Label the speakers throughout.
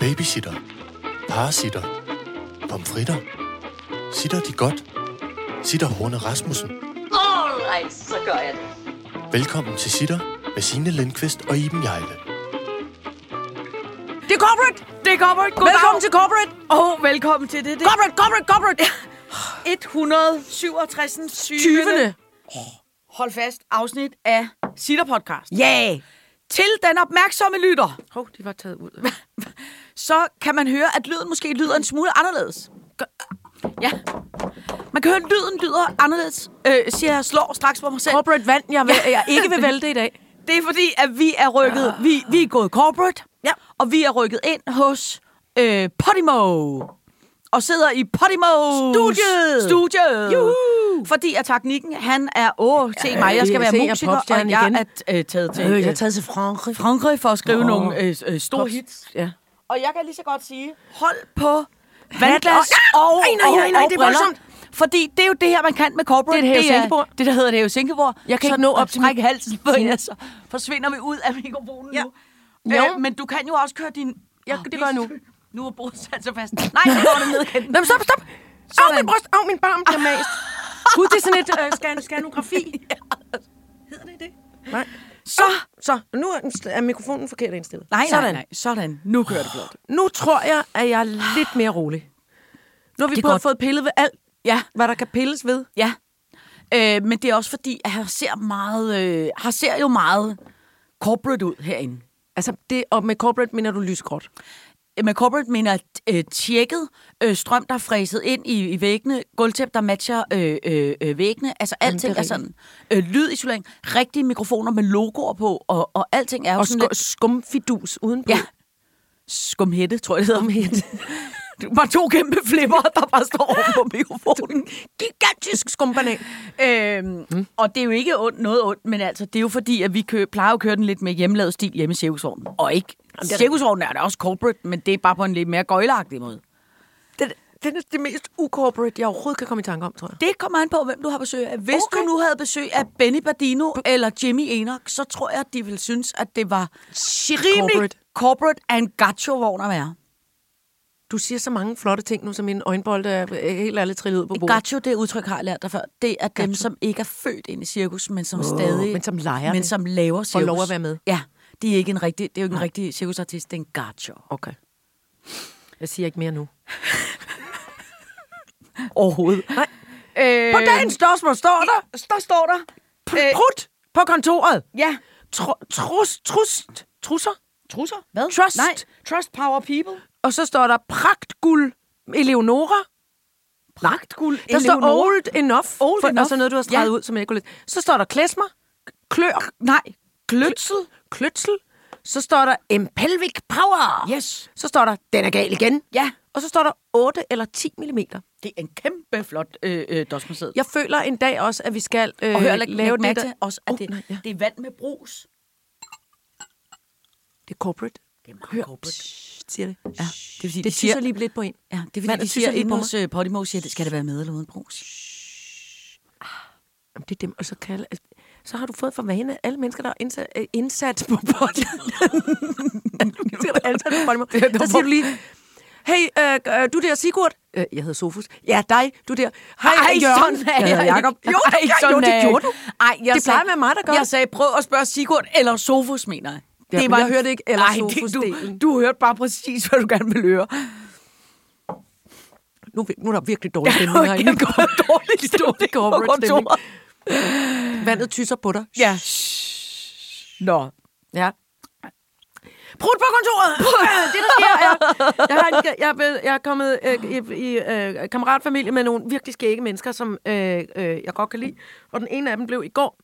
Speaker 1: Babysitter. Parasitter. Pomfritter. Sitter de godt? Sitter Horne Rasmussen.
Speaker 2: Alright, så gør jeg det.
Speaker 1: Velkommen til Sitter med Signe Lindqvist og Iben Jejle.
Speaker 3: Det er corporate!
Speaker 4: Det er corporate. Goddag.
Speaker 3: Velkommen til corporate!
Speaker 4: Åh, oh, velkommen til det. det.
Speaker 3: Corporate, corporate, corporate!
Speaker 4: 167. 20.
Speaker 3: 20.
Speaker 4: Hold fast. Afsnit af Sitter Podcast.
Speaker 3: Ja! Yeah.
Speaker 4: Til den opmærksomme lytter,
Speaker 3: Hov, de var taget ud.
Speaker 4: så kan man høre, at lyden måske lyder en smule anderledes.
Speaker 3: ja.
Speaker 4: Man kan høre, at lyden lyder anderledes, øh, siger jeg slår straks på mig selv.
Speaker 3: Corporate vand, jeg, vil, jeg ikke vil vælte i dag.
Speaker 4: Det er fordi, at vi er rykket, vi, vi er gået corporate,
Speaker 3: Ja.
Speaker 4: og vi er rykket ind hos øh, Podimo. Og sidder i Podimo.
Speaker 3: Studiet.
Speaker 4: Studiet.
Speaker 3: Juhu.
Speaker 4: Fordi at teknikken, han er, åh, se mig, jeg
Speaker 3: det-
Speaker 4: skal være
Speaker 3: se, jeg er
Speaker 4: musiker, og
Speaker 3: popstjerne
Speaker 4: jeg
Speaker 3: igen.
Speaker 4: er øh, taget til
Speaker 3: Øh, jeg
Speaker 4: øh,
Speaker 3: er taget til Frankrig.
Speaker 4: Frankrig for at skrive
Speaker 3: Åh.
Speaker 4: nogle øh, øh, store
Speaker 3: Pop-
Speaker 4: hits.
Speaker 3: Ja.
Speaker 4: Og jeg kan lige så godt sige, hold på vandglas
Speaker 3: Vandglas.
Speaker 4: og, og,
Speaker 3: Ej, nej,
Speaker 4: og,
Speaker 3: nej, nej, det er
Speaker 4: briller.
Speaker 3: voldsomt.
Speaker 4: Fordi det er jo det her, man kan med corporate.
Speaker 3: Det er et hævesænkebord.
Speaker 4: Det, der hedder det hævesænkebord.
Speaker 3: Jeg kan
Speaker 4: så
Speaker 3: ikke nå op til
Speaker 4: Træk
Speaker 3: min-
Speaker 4: halsen på
Speaker 3: Sin-
Speaker 4: jer, så forsvinder vi ud af mikrofonen
Speaker 3: Ja.
Speaker 4: nu.
Speaker 3: Jo.
Speaker 4: Øh, men du kan jo også køre din...
Speaker 3: Ja,
Speaker 4: Åh,
Speaker 3: det gør jeg nu.
Speaker 4: Nu er brudet sat så fast. Nej, nu går det ned igen.
Speaker 3: Nå, men stop, stop! Au,
Speaker 4: Sådan.
Speaker 3: min bryst, au, min barm, jeg er mast. Gud, det er sådan et øh, skan- skanografi. Hedder det det? Nej.
Speaker 4: Så...
Speaker 3: Så, nu er, den- er mikrofonen forkert indstillet.
Speaker 4: Nej, nej,
Speaker 3: Sådan.
Speaker 4: nej. Sådan. Nu kører det blot.
Speaker 3: Nu tror jeg, at jeg er lidt mere rolig. Nu har vi
Speaker 4: Det er
Speaker 3: både
Speaker 4: godt.
Speaker 3: fået pillet ved alt,
Speaker 4: Ja,
Speaker 3: hvad der kan pilles ved.
Speaker 4: ja. Øh, men det er også fordi, at han ser, meget, øh, han ser jo meget corporate ud herinde.
Speaker 3: Altså, det, og med corporate mener du lysgråt.
Speaker 4: med corporate mener øh, tjekket, øh, strøm, der er fræset ind i, i væggene, gulvtæp, der matcher øh, øh, øh, væggene. Altså alting
Speaker 3: det
Speaker 4: er,
Speaker 3: er
Speaker 4: sådan. Øh, lydisolering, rigtige mikrofoner med logoer på, og, og alting er jo
Speaker 3: Og
Speaker 4: sådan
Speaker 3: sku-
Speaker 4: lidt
Speaker 3: skumfidus udenpå.
Speaker 4: Ja. skumhætte, tror jeg det hedder. Skumhætte. Det var to kæmpe flipper, der bare står over på mikrofonen.
Speaker 3: Gigantisk skumbanan.
Speaker 4: Øhm, mm. Og det er jo ikke ondt, noget ondt, men altså, det er jo fordi, at vi kø, plejer jo at køre den lidt med hjemmelavet stil hjemme i cirkusvognen. Og ikke...
Speaker 3: det er-
Speaker 4: Cirkusvognen er da også corporate, men det er bare på en lidt mere gøjleagtig måde.
Speaker 3: Det, det er det mest ucorporate, jeg overhovedet kan komme i tanke om, tror jeg.
Speaker 4: Det kommer an på, hvem du har besøg af. Hvis okay.
Speaker 3: Okay.
Speaker 4: du nu havde besøg af Benny Bardino eller Jimmy Enoch, så tror jeg, at de ville synes, at det var
Speaker 3: Shit,
Speaker 4: rimelig
Speaker 3: corporate.
Speaker 4: corporate, corporate and gacho, vogn at være.
Speaker 3: Du siger så mange flotte ting nu, som mine øjenbolde er øh, helt ærligt trillet ud på bordet.
Speaker 4: Gacho, det udtryk har jeg lært dig før, det er dem, som ikke er født ind i cirkus, men som oh, stadig...
Speaker 3: men som leger
Speaker 4: Men
Speaker 3: det.
Speaker 4: som laver cirkus.
Speaker 3: lov at være med.
Speaker 4: Ja, det er, ikke en rigtig, det er jo ikke en rigtig cirkusartist, det er en gacho.
Speaker 3: Okay. Jeg siger ikke mere nu.
Speaker 4: Overhovedet.
Speaker 3: Nej.
Speaker 4: Øh,
Speaker 3: På dagens spørgsmål står der...
Speaker 4: der står der...
Speaker 3: Pr- prut på kontoret.
Speaker 4: Ja.
Speaker 3: Tr- trus, trust, trusser.
Speaker 4: Trusser? Hvad?
Speaker 3: Trust.
Speaker 4: Nej. Trust power people.
Speaker 3: Og så står der pragtguld Eleonora.
Speaker 4: Pragtguld.
Speaker 3: Der står old enough.
Speaker 4: Old
Speaker 3: for,
Speaker 4: enough.
Speaker 3: Og så noget, du har streget
Speaker 4: Ja.
Speaker 3: ud, som jeg ikke kunne lide. Så står der klesmer. Klør.
Speaker 4: Nej.
Speaker 3: Kløtsel. Kløtsel. Så står der en pelvic power.
Speaker 4: Yes.
Speaker 3: Så står der, den er gal igen.
Speaker 4: Ja.
Speaker 3: Og så står der 8 eller 10 mm.
Speaker 4: Det er en kæmpe flot øh, øh, dosmersæde.
Speaker 3: Jeg føler en dag også, at vi skal øh,
Speaker 4: og hør, læg,
Speaker 3: lave
Speaker 4: læg
Speaker 3: det
Speaker 4: mærke
Speaker 3: der.
Speaker 4: til også, at
Speaker 3: Åh,
Speaker 4: det,
Speaker 3: nej, ja.
Speaker 4: det er vand med brus.
Speaker 3: Det er corporate.
Speaker 4: Det er meget
Speaker 3: Hør,
Speaker 4: corporate.
Speaker 3: Psst, siger det.
Speaker 4: Ja, det er fordi,
Speaker 3: Det tisser lige lidt på en.
Speaker 4: Ja, det er fordi,
Speaker 3: Vandet
Speaker 4: de
Speaker 3: tisser
Speaker 4: siger
Speaker 3: lige
Speaker 4: inde
Speaker 3: på
Speaker 4: hos øh, Podimo, siger, det skal det være med eller uden brus.
Speaker 3: Jamen, det er dem, og så, kan, altså, så har du fået for vane, at alle mennesker, der er indsat, øh, indsat på podcasten. alle mennesker, der er ansat på podcasten. Der siger du lige, hey, øh, øh, du der Sigurd. Øh, jeg hedder Sofus. Ja, dig, du der. Hej,
Speaker 4: Ej,
Speaker 3: Jørgen.
Speaker 4: sådan er
Speaker 3: jeg hedder
Speaker 4: jeg
Speaker 3: Jacob.
Speaker 4: ikke. Jo,
Speaker 3: Ej,
Speaker 4: ej, sådan
Speaker 3: jo,
Speaker 4: er
Speaker 3: det
Speaker 4: jeg
Speaker 3: gjorde du.
Speaker 4: ikke. Ej, jeg sagde-
Speaker 3: det plejer at være mig, der gør
Speaker 4: Jeg sagde, prøv at spørge Sigurd eller Sofus, mener jeg.
Speaker 3: Ja, men jeg hørte ikke eller
Speaker 4: Ej, det, du,
Speaker 3: Sofus-delen.
Speaker 4: du hørte bare præcis, hvad du gerne ville høre.
Speaker 3: Nu, nu er der virkelig dårlig
Speaker 4: Det
Speaker 3: stemning
Speaker 4: var
Speaker 3: herinde.
Speaker 4: kæmpe dårlig stemning på
Speaker 3: corporate stemning.
Speaker 4: kontoret.
Speaker 3: Vandet tysser på dig.
Speaker 4: Ja. Nå,
Speaker 3: Ja. Brud på kontoret! Øh, det, der sker, er, jeg, har en, jeg, er blevet- jeg er kommet øh, i, i øh, kammeratfamilie med nogle virkelig skægge mennesker, som øh, øh, jeg godt kan lide. Og den ene af dem blev i går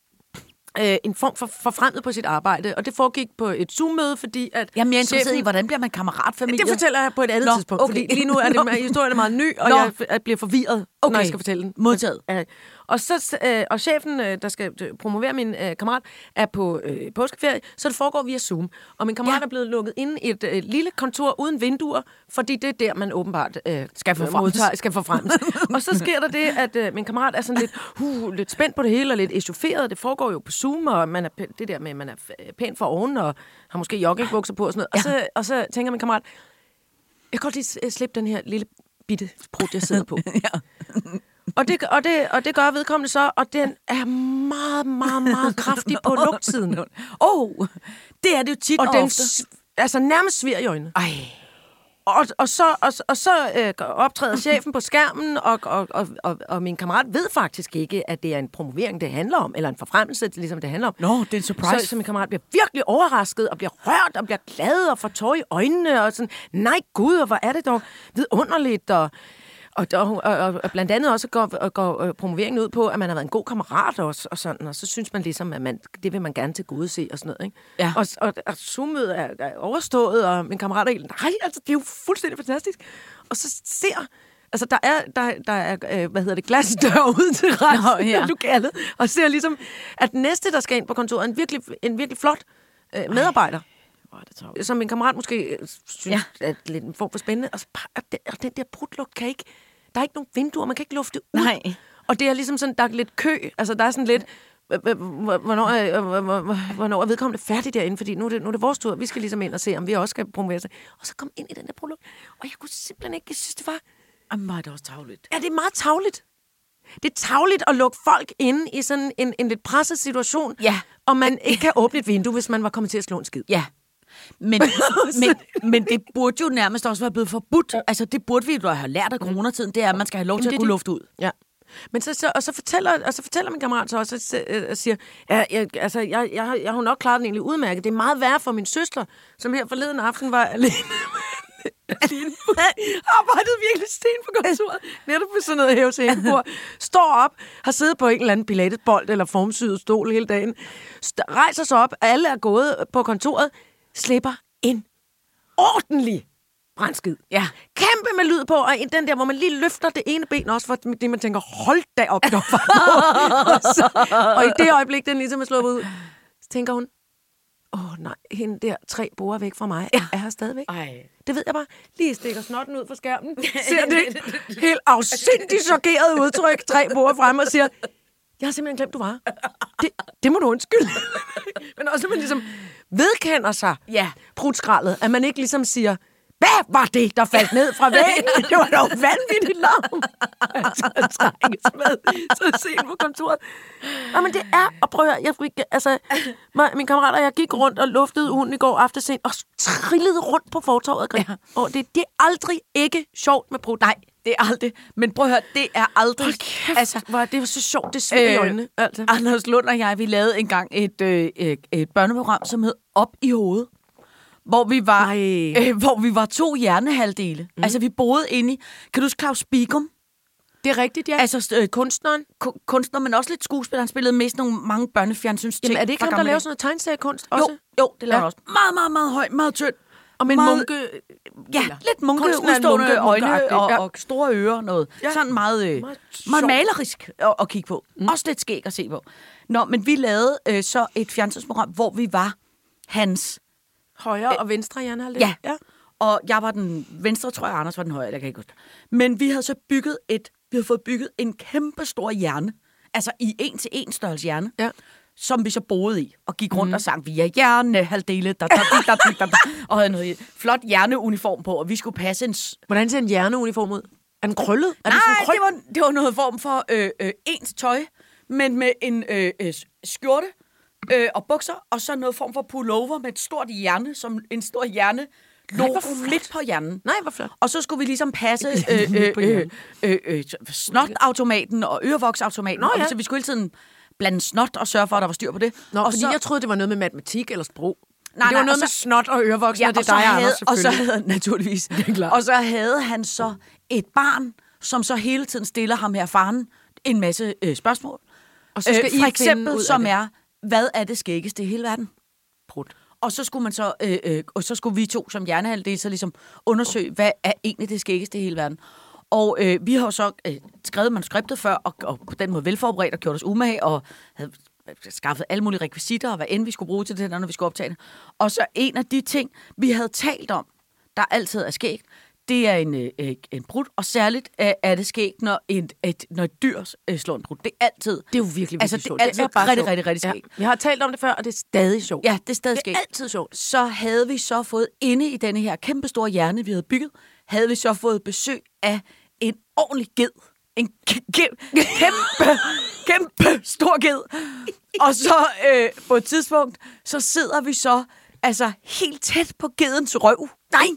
Speaker 3: øh, en form for, for fremmed på sit arbejde. Og det foregik på et Zoom-møde, fordi at...
Speaker 4: Jamen, jeg er interesseret
Speaker 3: chefen-
Speaker 4: i, hvordan bliver man kammeratfamilie?
Speaker 3: Det fortæller jeg på et andet
Speaker 4: Nå,
Speaker 3: Nå, tidspunkt, okay. fordi
Speaker 4: okay.
Speaker 3: lige nu er det,
Speaker 4: Nå.
Speaker 3: historien er meget ny, og
Speaker 4: Nå.
Speaker 3: jeg, jeg bliver forvirret, okay. når jeg skal fortælle den.
Speaker 4: Modtaget.
Speaker 3: Ja. Og, så, øh, og chefen, øh, der skal øh, promovere min øh, kammerat, er på øh, påskeferie, så det foregår via Zoom. Og min kammerat
Speaker 4: Ja.
Speaker 3: ja. er blevet lukket inde i et øh, lille kontor uden vinduer, fordi det er der, man åbenbart øh,
Speaker 4: Skal forfremmes.
Speaker 3: modtager, skal forfremmes. og så sker der det, at øh, min kammerat er sådan lidt, uh, lidt spændt på det hele, og lidt echaufferet. Det foregår jo på Zoom, og man er pæ- det der med, at man er øh, pæn for oven, og har måske joggingbukser på og sådan noget. Og, så, og så tænker min kammerat, jeg kan godt lige s- slippe den her lille bitte sprut, jeg sidder på. og, det, og, det, og det gør vedkommende så, og den er meget, meget, meget kraftig på lugtsiden.
Speaker 4: Åh, oh, det er det jo tit
Speaker 3: Og
Speaker 4: og,
Speaker 3: den
Speaker 4: ofte.
Speaker 3: s- altså nærmest svir i øjnene.
Speaker 4: Ej,
Speaker 3: Og, og så, og, og så øh, optræder chefen på skærmen, og, og, og, og, og min kammerat ved faktisk ikke, at det er en promovering, det handler om, eller en forfremmelse, det, ligesom det handler om.
Speaker 4: Nå, det er en surprise.
Speaker 3: Så, så min kammerat bliver virkelig overrasket, og bliver rørt, og bliver glad, og får tår i øjnene, og sådan, nej gud, og hvor er det dog vidunderligt, og... Og, der, og, og, og blandt andet også går, og går øh, promoveringen ud på, at man har været en god kammerat også, og sådan, og så synes man ligesom, at man, det vil man gerne til gode se, og sådan noget, ikke?
Speaker 4: Ja.
Speaker 3: Og, og, og Zoom-mødet er, er overstået, og min kammerat er helt, nej, altså, det er jo fuldstændig fantastisk. Og så ser, altså, der er, der, der er øh, hvad hedder det, glasdør ud til resten
Speaker 4: ja.
Speaker 3: af lokalet, og ser ligesom, at den næste, der skal ind på kontoret, er en virkelig, en virkelig flot øh, medarbejder,
Speaker 4: hvor er det travlt.
Speaker 3: som min kammerat måske øh, synes
Speaker 4: Ja.
Speaker 3: ja. er lidt en form for spændende, og, så bare, og, den, og den der brudlugt kan ikke, der er ikke nogen vinduer, man kan ikke lufte ud.
Speaker 4: Nej.
Speaker 3: Og det er ligesom sådan, der er lidt kø, altså der er sådan lidt, øh, øh, hvornår er, øh, hvor- hvor- hvornår er vedkommende færdig derinde, fordi nu er, det, nu er det vores tur, vi skal ligesom ind og se, om vi også skal promovere sig. Og så kom ind i den der brudlugt, og jeg kunne simpelthen ikke, jeg synes det var,
Speaker 4: Jamen, var det også tavligt.
Speaker 3: ja, det er meget tavligt. Det er tavligt at lukke folk inde i sådan en, en lidt presset situation,
Speaker 4: Ja.
Speaker 3: og man ikke kan åbne et vindue, hvis man var kommet til at slå en skid.
Speaker 4: Ja. Men, men, men det burde jo nærmest også være blevet forbudt. Altså, det burde vi jo have lært af coronatiden, det er, at man skal have lov til at
Speaker 3: det er
Speaker 4: kunne
Speaker 3: det.
Speaker 4: lufte ud.
Speaker 3: Ja. Men så, så, og, så fortæller, og så fortæller min kammerat så også, og så, øh, og siger, ja, jeg, altså, jeg, jeg, har- jeg har jo nok klaret den egentlig udmærket. Det er meget værre for min søster, som her forleden aften var alene. alene ude. Arbejdede virkelig sten på kontoret. Netop på sådan noget hæve til hækbord. Står op, har siddet på en eller anden pilatesbold eller formsyet stol hele dagen. St- rejser sig op, alle er gået på kontoret. Slipper en ordentlig brændskid.
Speaker 4: Ja.
Speaker 3: Kæmpe med lyd på, og en- den der, hvor man lige løfter det ene ben også, for det man tænker, hold da op, der var noget. og, så, og i det øjeblik, den ligesom er sluppet ud, så tænker hun, åh oh, nej, hende der tre borer væk fra mig, ja. er her stadigvæk.
Speaker 4: Ej.
Speaker 3: Det ved jeg bare. Lige stikker snotten ud fra skærmen, ser det helt afsindigt chokeret udtryk, tre borer frem og siger, jeg har simpelthen glemt, du var. her." Det, det må du undskylde. Men også, når man ligesom vedkender sig
Speaker 4: Ja.
Speaker 3: prutskraldet, at man ikke ligesom siger, hvad var det, der faldt ned fra væggen? Det var dog vanvittigt larm. Altså, at trækkes med så sent på kontoret. Nå, men det er, og prøv at høre, jeg, skulle ikke- altså, mig, min kammerat og jeg gik rundt og luftede hunden i går aftes sent, og trillede rundt på fortorvet. Ja. Og det, det er aldrig ikke sjovt med brud. Nej,
Speaker 4: Det er aldrig. Men prøv at høre, det er aldrig.
Speaker 3: kæft, altså, var det var så sjovt, det sved øh, i
Speaker 4: Øh,
Speaker 3: øjnene. Altså.
Speaker 4: Anders Lund og jeg, vi lavede engang et, øh, et, et børneprogram, som hed Op i hovedet. Hvor vi var,
Speaker 3: Nej.
Speaker 4: øh, hvor vi var to hjernehalvdele. Mm. Altså, vi boede inde i... Kan du huske Claus Bigum?
Speaker 3: Det er rigtigt, ja.
Speaker 4: Altså, øh, kun,
Speaker 3: kunstneren.
Speaker 4: kun, kunstner, men også lidt skuespiller. Han spillede mest nogle mange børnefjernsyns ting.
Speaker 3: Jamen, er det ikke ham, der laver sådan noget tegneseriekunst også? øh,
Speaker 4: Jo, jo, det laver
Speaker 3: Ja.
Speaker 4: han også. Meget, meget, meget høj, meget tynd.
Speaker 3: Og med en
Speaker 4: meget-
Speaker 3: munke...
Speaker 4: Ja,
Speaker 3: Eller-
Speaker 4: lidt munke,
Speaker 3: Kunsten er en
Speaker 4: udstående
Speaker 3: munke-
Speaker 4: øjne
Speaker 3: munkeagtig,
Speaker 4: og,
Speaker 3: ja.
Speaker 4: og store ører og noget. Ja.
Speaker 3: Ja.
Speaker 4: Sådan meget, øh, meget,
Speaker 3: Meget
Speaker 4: meget
Speaker 3: sjovt.
Speaker 4: malerisk at, at kigge på. Mm. Også lidt skæg at se på. Nå, men vi lavede øh, så et fjernsynsprogram, hvor vi var hans.
Speaker 3: Højre og venstre hjernehalvdel.
Speaker 4: Ja. ja. Og jeg var den venstre, tror jeg, Anders var den højre, eller jeg kan ikke huske. det. Men vi havde så bygget et, vi havde fået bygget en kæmpe stor hjerne. Altså i en til en størrelse hjerne.
Speaker 3: Ja.
Speaker 4: Som vi så boede i, og gik rundt mm. og sang, vi er hjernehalvdele, da, da, da, da, da, da, og havde noget flot hjerneuniform på, og vi skulle passe en, s-
Speaker 3: Hvordan ser en hjerneuniform ud? Er den krøllet? Er
Speaker 4: Nej,
Speaker 3: den sådan krøl-
Speaker 4: det, var, det var noget form for øh, øh, ens tøj, men med en øh, øh, skjorte øh, og bukser, og så noget form for pullover med et stort hjerne, som en stor hjerne
Speaker 3: Nej,
Speaker 4: logo
Speaker 3: hvor flot.
Speaker 4: midt på hjernen.
Speaker 3: Nej, hvor flot.
Speaker 4: Og så skulle vi ligesom passe øh, øh,
Speaker 3: på
Speaker 4: øh,
Speaker 3: hjernen.
Speaker 4: øh, øh, snotautomaten og ørevoksautomaten.
Speaker 3: Nå,
Speaker 4: Og
Speaker 3: ja.
Speaker 4: Så vi skulle hele tiden blande snot og sørge for, at der var styr på det.
Speaker 3: Nå,
Speaker 4: og
Speaker 3: og fordi
Speaker 4: så,
Speaker 3: jeg troede, det var noget med matematik eller sprog.
Speaker 4: Nej,
Speaker 3: det
Speaker 4: nej,
Speaker 3: var noget
Speaker 4: og
Speaker 3: med
Speaker 4: så-
Speaker 3: snot og ørevoksen, og det er
Speaker 4: så
Speaker 3: dig,
Speaker 4: havde,
Speaker 3: Anders,
Speaker 4: og så
Speaker 3: selvfølgelig.
Speaker 4: havde naturligvis. Det
Speaker 3: er klart.
Speaker 4: Og så havde han så et barn, som så hele tiden stiller ham her faren en masse øh, spørgsmål. Øh,
Speaker 3: Og så skal
Speaker 4: for
Speaker 3: I finde
Speaker 4: eksempel,
Speaker 3: ud af
Speaker 4: som
Speaker 3: det.
Speaker 4: er, hvad er det skæggeste i hele verden?
Speaker 3: Prut.
Speaker 4: Og så skulle man så, øh, øh, og så skulle vi to som hjernehalvdel så ligesom undersøge, hvad er egentlig det skæggeste i hele verden. Og øh, vi har jo så øh, skrevet manuskriptet før, og, og på den måde velforberedt og gjort os umage, og havde øh, skaffet alle mulige rekvisitter, og hvad end vi skulle bruge til det her, når vi skulle optage det. Og så en af de ting, vi havde talt om, der altid er skægt, det er en, øh, øh, en brud, og særligt øh, er det skægt, når et, et, når et dyr øh, slår en brud. Det er altid.
Speaker 3: Det er jo virkelig, virkelig
Speaker 4: altså, det
Speaker 3: sjovt.
Speaker 4: er altid rigtig, rigtig, rigtig
Speaker 3: Ja.
Speaker 4: skægt.
Speaker 3: Vi har talt om det før, og det er stadig sjovt.
Speaker 4: Ja, det er stadig
Speaker 3: det
Speaker 4: skægt
Speaker 3: er altid sjovt.
Speaker 4: så havde vi så fået inde i denne her kæmpe store hjerne, vi havde bygget, havde vi så fået besøg af en ordentlig ged. En kæ- kæ- kæmpe, kæmpe stor ged. Og så øh, på et tidspunkt, så sidder vi så altså helt tæt på gedens røv. Nej!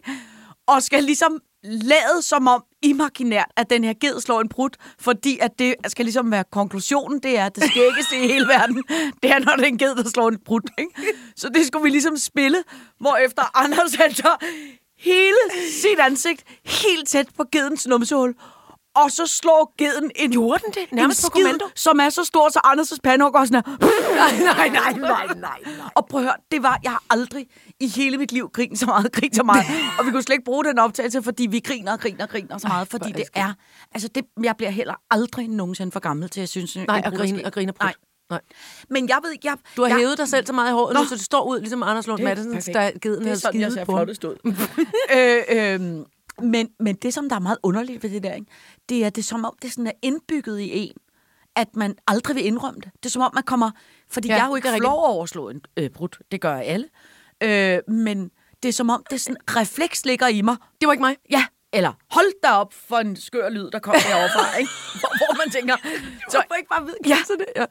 Speaker 4: Og skal ligesom lade som om imaginært, at den her ged slår en brud, fordi at det skal ligesom være konklusionen, det er, at det skæggeste i hele verden, det er, når det er en ged, der slår en brud. Ikke? Så det skulle vi ligesom spille, hvorefter Anders han så hele sit ansigt helt tæt på gedens numsehul, og så slår geden en
Speaker 3: Gjorde den det? Nærmest
Speaker 4: en
Speaker 3: på
Speaker 4: skid,
Speaker 3: kommando?
Speaker 4: som er så stor, så Anders' pandehug også sådan her.
Speaker 3: Nej, nej, nej, nej, nej, nej.
Speaker 4: Og prøv at høre, det var, jeg har aldrig i hele mit liv grinet så meget, grinet så meget. og vi kunne slet ikke bruge den optagelse, fordi vi griner og griner og griner så meget, fordi det er, altså det, jeg bliver heller aldrig nogensinde for gammel til, jeg synes, en
Speaker 3: Nej,
Speaker 4: brud
Speaker 3: og
Speaker 4: er
Speaker 3: grine,
Speaker 4: sket.
Speaker 3: og grine
Speaker 4: Nej,
Speaker 3: nej.
Speaker 4: men jeg ved ikke, jeg...
Speaker 3: Du har
Speaker 4: jeg,
Speaker 3: ja. hævet dig selv så meget i håret, nu,
Speaker 4: Nå.
Speaker 3: så det står ud, ligesom Anders Lund Madsens,
Speaker 4: perfekt.
Speaker 3: der geden havde skidet på. ham.
Speaker 4: ud. øh, øhm, men, men det, som der er meget underligt ved det der, ikke, det er, det er som om, det sådan er indbygget i en, at man aldrig vil indrømme det. Det er som om, man kommer... Fordi
Speaker 3: Ja,
Speaker 4: ja, jeg er jo ikke
Speaker 3: det er
Speaker 4: flov over at slå en øh, brud. Det gør alle. Øh, men det er som om, det er sådan, refleks ligger i mig.
Speaker 3: Det var ikke mig.
Speaker 4: Ja, eller hold da op for en skør lyd, der kommer heroverfra, ikke? Hvor, hvor man tænker... Så,
Speaker 3: Hvorfor ikke bare vide,
Speaker 4: Ja.
Speaker 3: ja. det? Ja.